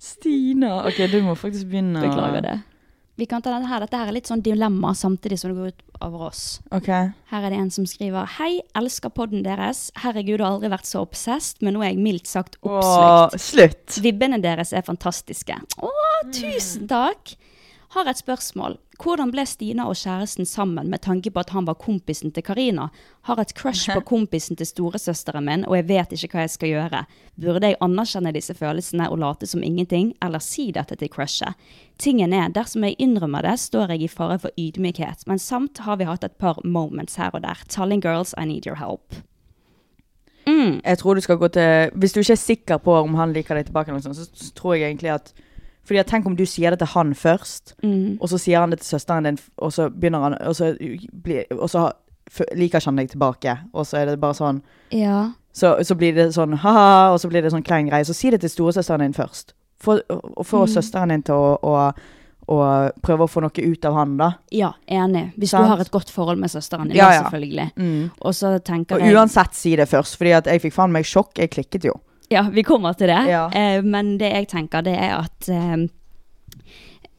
Stina. Ok, du må faktisk begynne. å- Beklager det. Vi kan ta denne her. Dette her er litt sånn dilemma samtidig som det går ut over oss. Ok. Her er det en som skriver Hei, elsker podden deres. Herregud, har aldri vært så obsessed, men nå er jeg mildt sagt Åh, oppslukt. slutt. Vibbene deres er fantastiske. Å, tusen takk! Har et spørsmål. Hvordan ble Stina og kjæresten sammen med tanke på at han var kompisen til Karina? Har et crush på kompisen til storesøsteren min, og jeg vet ikke hva jeg skal gjøre. Burde jeg anerkjenne disse følelsene og late som ingenting, eller si dette til crushet? Tingen er, dersom jeg innrømmer det, står jeg i fare for ydmykhet, men samt har vi hatt et par moments her og der. Telling girls I need your help. Mm. Jeg tror du skal gå til Hvis du ikke er sikker på om han liker deg tilbake, eller noe sånt, så s- tror jeg egentlig at Fordi at Tenk om du sier det til han først, Mm. og så sier han det til søsteren din, f- og så begynner han Og så, blir, og så har- f- liker ikke han deg tilbake, og så er det bare sånn Ja. Så, så blir det sånn ha-ha, og så blir det sånn klein greie. Så si det til storesøsteren din først. Få- Og få Mm. søsteren din til å, å, å prøve å få noe ut av han, da. Ja, enig. Hvis Sant. du har et godt forhold med søsteren din, Ja, da, ja. selvfølgelig. Mm. Og så tenker Og jeg uansett si det først, fordi at jeg fikk faen meg sjokk. Jeg klikket jo. Ja, vi kommer til det. Ja. Eh, men det jeg tenker, det er at eh,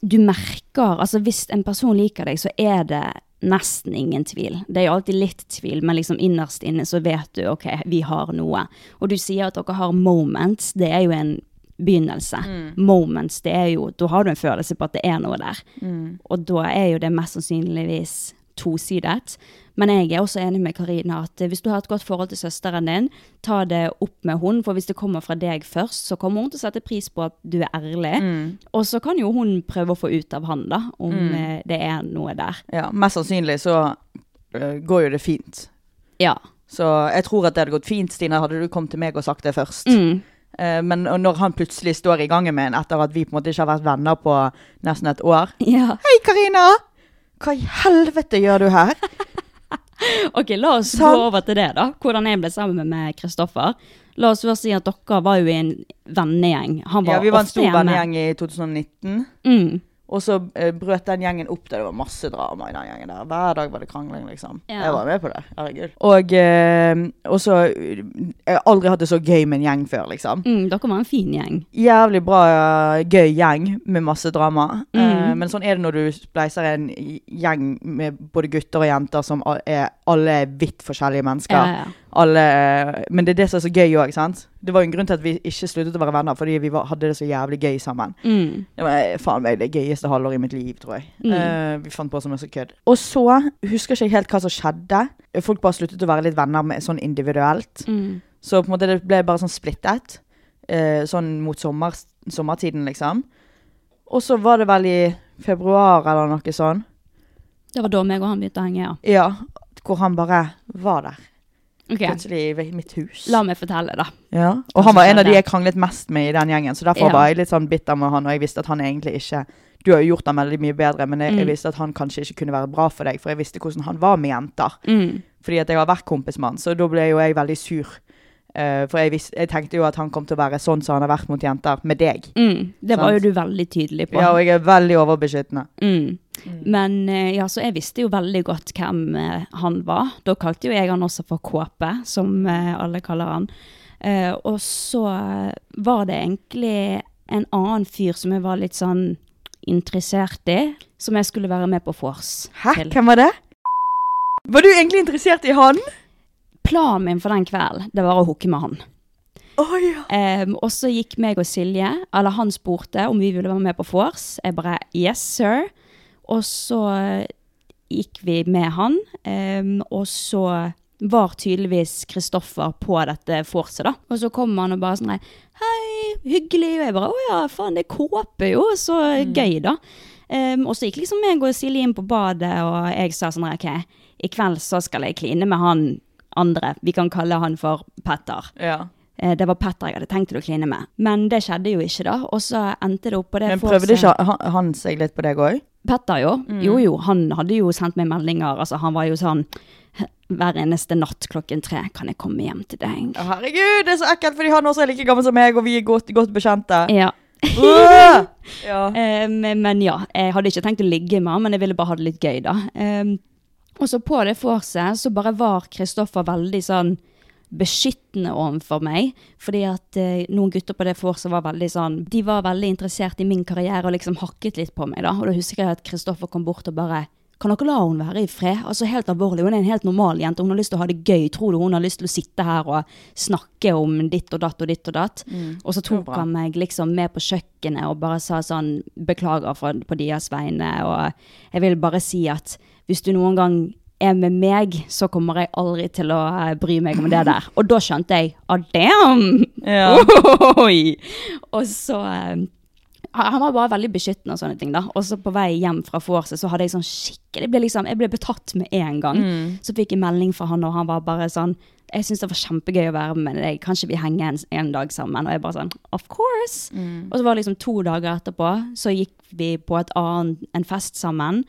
du merker Altså, hvis en person liker deg, så er det nesten ingen tvil. Det er jo alltid litt tvil, men liksom innerst inne så vet du OK, vi har noe. Og du sier at dere har moments. Det er jo en begynnelse. Moments, det er jo Da har du en følelse på at det er noe der. Og da er jo det mest sannsynligvis tosidet. Men jeg er også enig med Karina at eh, hvis du har et godt forhold til søsteren din, ta det opp med hun, for hvis det kommer fra deg først, så kommer hun til å sette pris på at du er ærlig. Mm. Og så kan jo hun prøve å få ut av han da, om eh, det er noe der. Ja, Mest sannsynlig så eh, går jo det fint. Ja. Så jeg tror at det hadde gått fint, Stine, hadde du kommet til meg og sagt det først. Mm. Eh, Men og når han plutselig står i gangen med en etter at vi på en måte ikke har vært venner på nesten et år ja. Hei, Karina! Hva i helvete gjør du her? Ok, la oss gå Sant. over til det da. Hvordan jeg ble sammen med Kristoffer. La oss først si at dere var jo i en vennegjeng. Han var Ja, vi var en ofte stor hjemme. vennegjeng i 2019. Mm. Og så eh, brøt den gjengen opp da det var masse drama i den gjengen der. Hver dag var det krangling, liksom. Ja. Jeg var med på det. Herregud. Og, eh, og så eh, Jeg har aldri hatt det så gøy med en gjeng før, liksom. Mm, dere var en fin gjeng. Jævlig bra, eh, gøy gjeng med masse drama. Mm. Eh, men sånn er det når du spleiser en gjeng med både gutter og jenter som al- er alle er vidt forskjellige mennesker. Ja, ja. Alle, eh, men det er det som er så gøy òg, sant. Det var jo en grunn til at vi ikke sluttet å være venner, fordi vi var, hadde det så jævlig gøy sammen. Mm. Det var eh, faen meg det gøyeste halvåret i mitt liv, tror jeg. Eh, vi fant på så masse kødd. Og så husker ikke jeg helt hva som skjedde. Folk bare sluttet å være litt venner med, sånn individuelt. Mm. Så på en måte det ble bare sånn splittet. eh, sånn mot sommer, sommertiden, liksom. Og så var det vel i februar eller noe sånn. Det var da meg og han begynte å henge, ja. Ja, hvor han bare var der. Ok, Plutselig i mitt hus. la meg fortelle da. Ja. Hva Og han som var en av de skjedde? jeg kranglet mest med i den gjengen, så derfor Ja. var jeg litt sånn bitter med han, og jeg visste at han egentlig ikke Du har jo gjort ham veldig mye bedre, men Mm. jeg, jeg visste at han kanskje ikke kunne være bra for deg, for jeg visste hvordan han var med jenter. Mm. Fordi at jeg har vært kompis med han, så da ble jo jeg veldig sur. Eh, for jeg, vis, jeg tenkte jo at han kom til å være sånn som han har vært mot jenter, med deg. Mm, det var jo Sant. du veldig tydelig på. Ja, og jeg er veldig overbeskyttende. mm. Men eh, ja, så jeg visste jo veldig godt hvem eh, han var. Da kalte jo jeg han også for Kåpe, som eh, alle kaller han. Eh, og så eh, var det egentlig en annen fyr som jeg var litt sånn interessert i, som jeg skulle være med på vors Hæ? til. Hvem var det? Var du egentlig interessert i han? Planen min for den kvelden, det var å hooke med han. Å ja. Em, og så gikk meg og Silje, eller han spurte om vi ville være med på vors. Jeg bare yes, sir. Og så gikk vi med han, em, og så var tydeligvis Kristoffer på dette vorset, da. Og så kom han og bare sånn Hei, hyggelig. Og jeg bare Å ja, faen, det er kåpe, jo. Så Mm. gøy, da. Em, og så gikk liksom meg og Silje inn på badet, og jeg sa sånn OK, i kveld så skal jeg kline med han andre. Vi kan kalle han for Petter. ja. Eh, Det var Petter jeg hadde tenkt å kline med. Men det skjedde jo ikke, da. Og så endte det opp på det Men vorset- prøvde ikke han, han seg litt på deg òg? Petter, jo. Mm. Jo, jo. Han hadde jo sendt meg meldinger. Altså, han var jo sånn Hver eneste natt klokken tre kan jeg komme hjem til Å, deg. Herregud, det er så ekkelt, fordi han også er like gammel som meg, og vi er godt, godt bekjente. Ja. [LAUGHS] Åh! ja. Eh, men, men ja, jeg hadde ikke tenkt å ligge med han, men jeg ville bare ha det litt gøy, da. Eh, og så på det vorset så bare var Kristoffer veldig sånn beskyttende overfor meg, fordi at eh, noen gutter på det vorset var veldig sånn De var veldig interessert i min karriere og liksom hakket litt på meg, da. Og da husker jeg at Kristoffer kom bort og bare kan dere la henne være i fred? Altså helt alvorlig, Hun er en helt normal jente. Hun har lyst til å ha det gøy. Tror du hun har lyst til å sitte her og snakke om ditt og datt og ditt og datt? og så tok bra. han meg liksom med på kjøkkenet og bare sa sånn Beklager for, på deres vegne. Og jeg vil bare si at hvis du noen gang er med meg, så kommer jeg aldri til å eh, bry meg om det der. Og da skjønte jeg ah, damn! Ja. [LAUGHS] Oi! Og så eh, han han var bare veldig beskyttende og sånne ting. da. Og så på vei hjem fra vorset så hadde jeg sånn skikkelig ble liksom, Jeg ble betatt med en gang. Så fikk jeg melding fra han, og han var bare sånn Jeg syns det var kjempegøy å være med deg. Kanskje vi henger en, en dag sammen? Og jeg bare sånn Of course! Og så var det liksom to dager etterpå, så gikk vi på et annet, en fest sammen.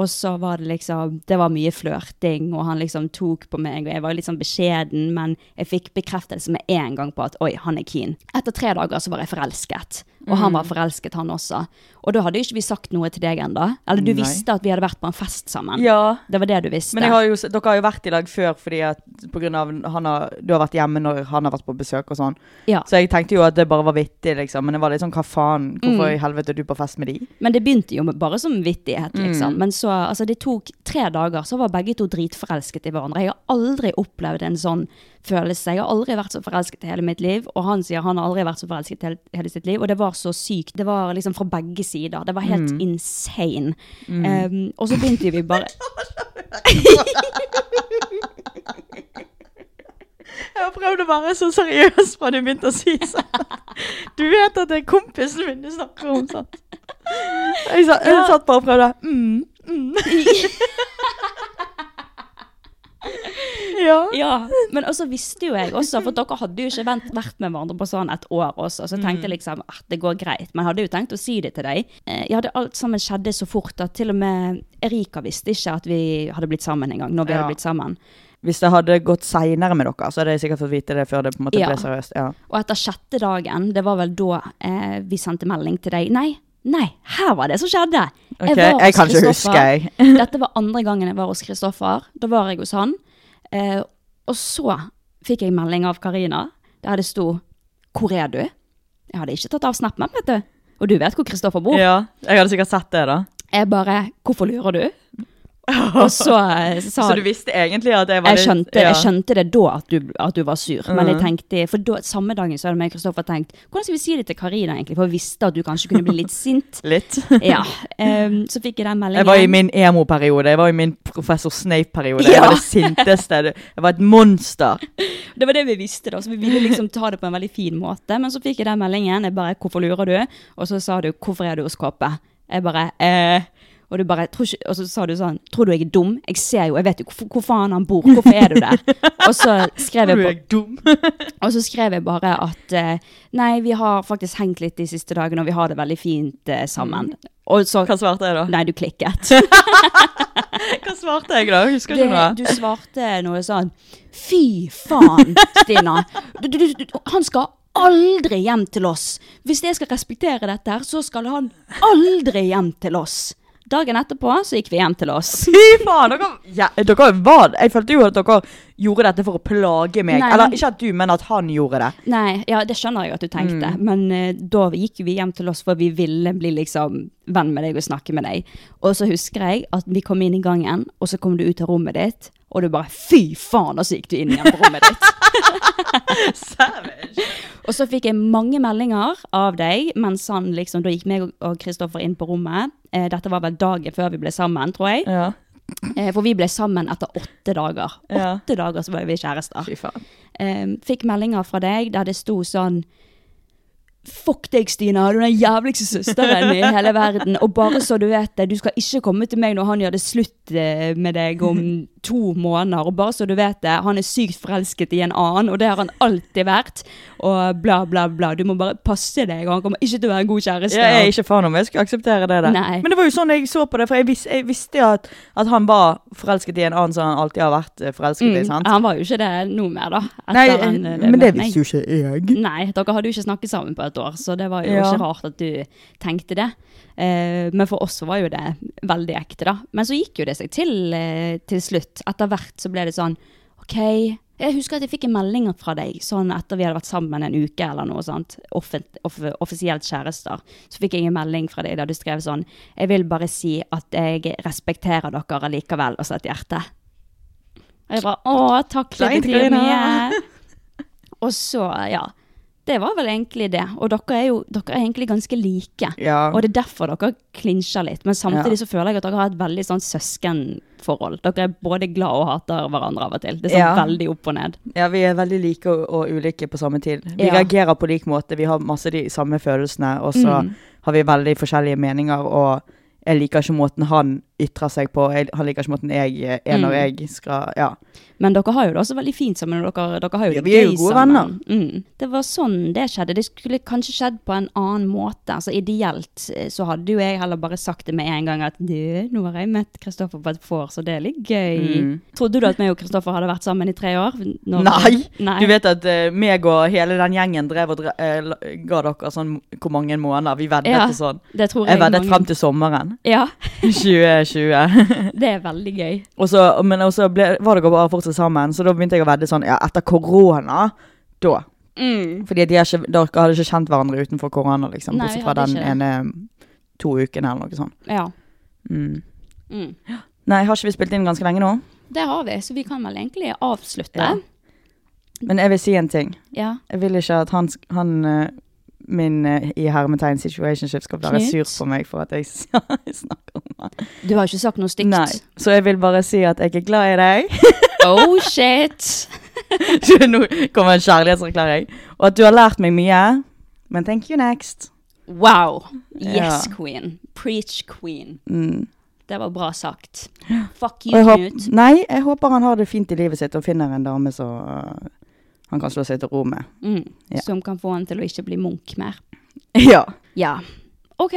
Og så var det liksom Det var mye flørting, og han liksom tok på meg, og jeg var litt sånn beskjeden, men jeg fikk bekreftelse med en gang på at oi, han er keen. Etter tre dager så var jeg forelsket, og han Mm. var forelsket, han også. Og da hadde jo ikke vi sagt noe til deg ennå. Eller du Nei. visste at vi hadde vært på en fest sammen. Ja. Det var det du visste. Men jeg har jo, s- dere har jo vært i lag før fordi at på grunn av han har, du har vært hjemme når han har vært på besøk og sånn. ja. Så jeg tenkte jo at det bare var vittig, liksom. Men det var litt sånn hva faen? Hvorfor i helvete er du på fest med de? Mm. Mm. Men det begynte jo med- bare som vittighet, liksom. Men så, altså det tok tre dager, så var begge to dritforelsket i hverandre. Jeg har aldri opplevd en sånn følelse. Jeg har aldri vært så forelsket i hele mitt liv, og han sier han har aldri vært så forelsket i hele, hele sitt liv, og det var så sykt. Det var liksom fra begge sider. Det var Mm. helt insane. Um, og så begynte vi bare... Jeg har prøvd å være så seriøs fra du begynte å si sånn. Du vet at det er kompisen min du snakker om, sant? Jeg, sa, jeg satt bare og prøvde. Mm, mm. ja. Ja, men også visste jo jeg også, for dere hadde jo ikke vent, vært med hverandre på sånn et år også, så tenkte Mm. jeg liksom at det går greit, men jeg hadde jo tenkt å si det til deg. Eh, Jeg hadde alt sammen skjedde så fort at til og med Erika visste ikke at vi hadde blitt sammen en gang, når vi Ja. hadde blitt sammen. Hvis det hadde gått seinere med dere, så hadde jeg sikkert fått vite det før det på en måte Ja. ble seriøst. Ja. Og etter sjette dagen, det var vel da eh, vi sendte melding til deg. Nei, nei, her var det som skjedde. Ok, jeg kan ikke huske, jeg. [LAUGHS] Dette var andre gangen jeg var hos Kristoffer. Da var jeg hos han. Eh, og så fikk jeg melding av Karina, der det sto 'Hvor er du?' Jeg hadde ikke tatt av snappen, vet du. Og du vet hvor Kristoffer bor. ja. Jeg hadde sikkert sett det, da. Jeg bare 'Hvorfor [LAUGHS] lurer du?' Og så eh, sa Så du visste egentlig at jeg var jeg skjønte, ja. Mm. jeg skjønte det da at du, at du var sur, men jeg tenkte, for da, samme dagen så hadde meg og Kristoffer tenkt, hvordan skal vi si det til Karina egentlig, for vi visste at du kanskje kunne bli litt sint. [LAUGHS] Litt. Ja, ehm, så fikk jeg den meldingen. Jeg var i min emo-periode. Jeg var i min professor Snape-periode. Jeg [LAUGHS] Ja. var det sinteste. Jeg var et monster. Det var det vi visste da, så vi ville liksom ta det på en veldig fin måte, men så fikk jeg den meldingen, jeg bare, hvorfor lurer du? Og så sa du, hvorfor er du hos Kåpe? Jeg bare, eh... Og, du bare, tror ikke, og så sa du sånn, tror du jeg er dum? Jeg ser jo, jeg vet jo hvor, hvor faen han bor, hvorfor er du der? Og så skrev jeg på, dum. [LAUGHS] Og så skrev jeg bare at eh, nei, vi har faktisk hengt litt de siste dagene, og vi har det veldig fint eh, sammen. Og så Hva svarte jeg da? Nei, du klikket. Hva svarte jeg da? Husker Det, ikke noe. du svarte noe sånn Fy faen, Stina. Du, du, du, du, han skal aldri hjem til oss. Hvis jeg skal respektere dette, her, så skal han aldri hjem til oss. Dagen etterpå så gikk vi hjem til oss. Fy faen, dere, ja, dere var Jeg følte jo at dere gjorde dette for å plage meg. Nei, Eller men- ikke at du, men at han gjorde det. Mm. Nei, ja, det skjønner jeg at du tenkte, men eh, da gikk jo vi hjem til oss, for vi ville bli liksom venn med deg og snakke med deg. Og så husker jeg at vi kom inn i gangen, og så kom du ut av rommet ditt, og du bare fy faen, og så gikk du inn igjen på rommet ditt. [LAUGHS] og så fikk jeg mange meldinger av deg, mens han liksom, da gikk meg og- og Kristoffer inn på rommet. Eh, Dette var vel dagen før vi ble sammen, tror jeg. Ja. Eh, For vi ble sammen etter åtte dager. Ja. Åtte dager så var vi kjærester Fy faen. eh, fikk meldinger fra deg der det sto sånn Fuck deg, Stina! Du er den jævligste søsteren i hele verden. Og bare så du vet det, du skal ikke komme til meg når han gjør det slutt eh, med deg om to måneder. Og bare så du vet det, han er sykt forelsket i en annen, og det har han alltid vært. Og bla, bla, bla. Du må bare passe deg, og han kommer ikke til å være en god kjæreste. Ja, jeg er ikke faen om jeg skulle akseptere det. Der. Nei. Men det var jo sånn jeg så på det, for jeg, vis, jeg visste jo at, at han var forelsket i en annen som han alltid har vært eh, forelsket i. sant? Mm, Han var jo ikke det nå mer, da. etter Nei, han, eh, men det møtte meg. visste jo ikke jeg. Nei, dere hadde jo ikke snakket sammen på et år, så det var jo Ja. ikke rart at du tenkte det. Eh, men for oss så var jo det veldig ekte, da. Men så gikk jo det seg til eh, til slutt. Etter hvert så ble det sånn OK. Jeg husker at jeg fikk en melding fra deg sånn etter vi hadde vært sammen en uke eller noe sånt. Offent, off, offisielt kjærester. Så fikk jeg en melding fra deg der du skrev sånn Jeg vil bare si at jeg respekterer dere likevel, og så et hjerte. Og jeg bare Å, takk, det Kleint, betyr Karina. mye. Og så, ja. Det var vel egentlig det. Og dere er jo dere er egentlig ganske like. Ja. Og det er derfor dere klinsjer litt. Men samtidig Ja. så føler jeg at dere har et veldig sånn søskenforhold. Dere er både glad og hater hverandre av og til. Det er sånn Ja. veldig opp og ned. Ja, vi er veldig like og, og ulike på samme tid. Vi Ja. reagerer på lik måte, vi har masse de Mm. samme følelsene, og så har vi veldig forskjellige meninger, og jeg liker ikke måten han ytrer seg på. Jeg, han liker ikke måten jeg eh, er når Mm. jeg skal Ja. Men dere har jo det også veldig fint sammen. og Dere, dere har jo Ja, det vi er jo gøy gode sammen. Mm. Det var sånn det skjedde. Det skulle kanskje skjedd på en annen måte. Altså Ideelt eh, så hadde jo jeg heller bare sagt det med en gang at du, nå har jeg møtt Kristoffer på et vors, og det er litt gøy. Mm. Trodde du at meg og Kristoffer hadde vært sammen i tre år? Når- Nei! Nei. Du vet at eh, meg og hele den gjengen drev og dre eh, la- ga dere sånn hvor mange måneder. Vi veddet Ja, og sånn. det tror jeg. Jeg veddet mange- frem til sommeren [LAUGHS] Ja, 2020. det er veldig gøy. og så, men og så ble, var dere bare fortsatt sammen, så da begynte jeg å vedde sånn ja, etter korona. Da. Mm. Fordi de har ikke, dere hadde ikke kjent hverandre utenfor korona, liksom. Nei, bortsett vi fra hadde den ikke ene mm, to ukene eller noe sånt. Ja. Mm. Mm. Nei, har ikke vi spilt inn ganske lenge nå? Det har vi, så vi kan vel egentlig avslutte. Ja. Men jeg vil si en ting. Ja. Jeg vil ikke at han, sk- han eh, min eh, i hermetegn situationship skal være Knut? sur på meg for at jeg [LAUGHS] s- snakker om han. Du har ikke sagt noe stygt. Nei, så jeg vil bare si at jeg er glad i deg. [LAUGHS] Oh shit! [LAUGHS] Så Nå kommer en kjærlighetserklæring. Og at du har lært meg mye. Men thank you next. Wow! Yes, Ja. queen. Preach, queen. Mm. Det var [GASPS] bra sagt. Fuck Og you, jeg Knut. håp, nei, jeg håper han har det fint i livet sitt og finner en dame som eh, han kan slå seg til ro med. Mm. Ja. Som kan få han til å ikke bli munk mer. [LAUGHS] Ja. Ja. OK.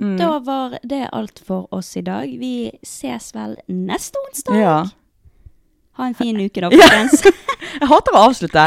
Mm. Da var det alt for oss i dag. Vi ses vel neste onsdag. ja. Ha [LAUGHS] en fin uke, da, folkens. Jeg hater å avslutte.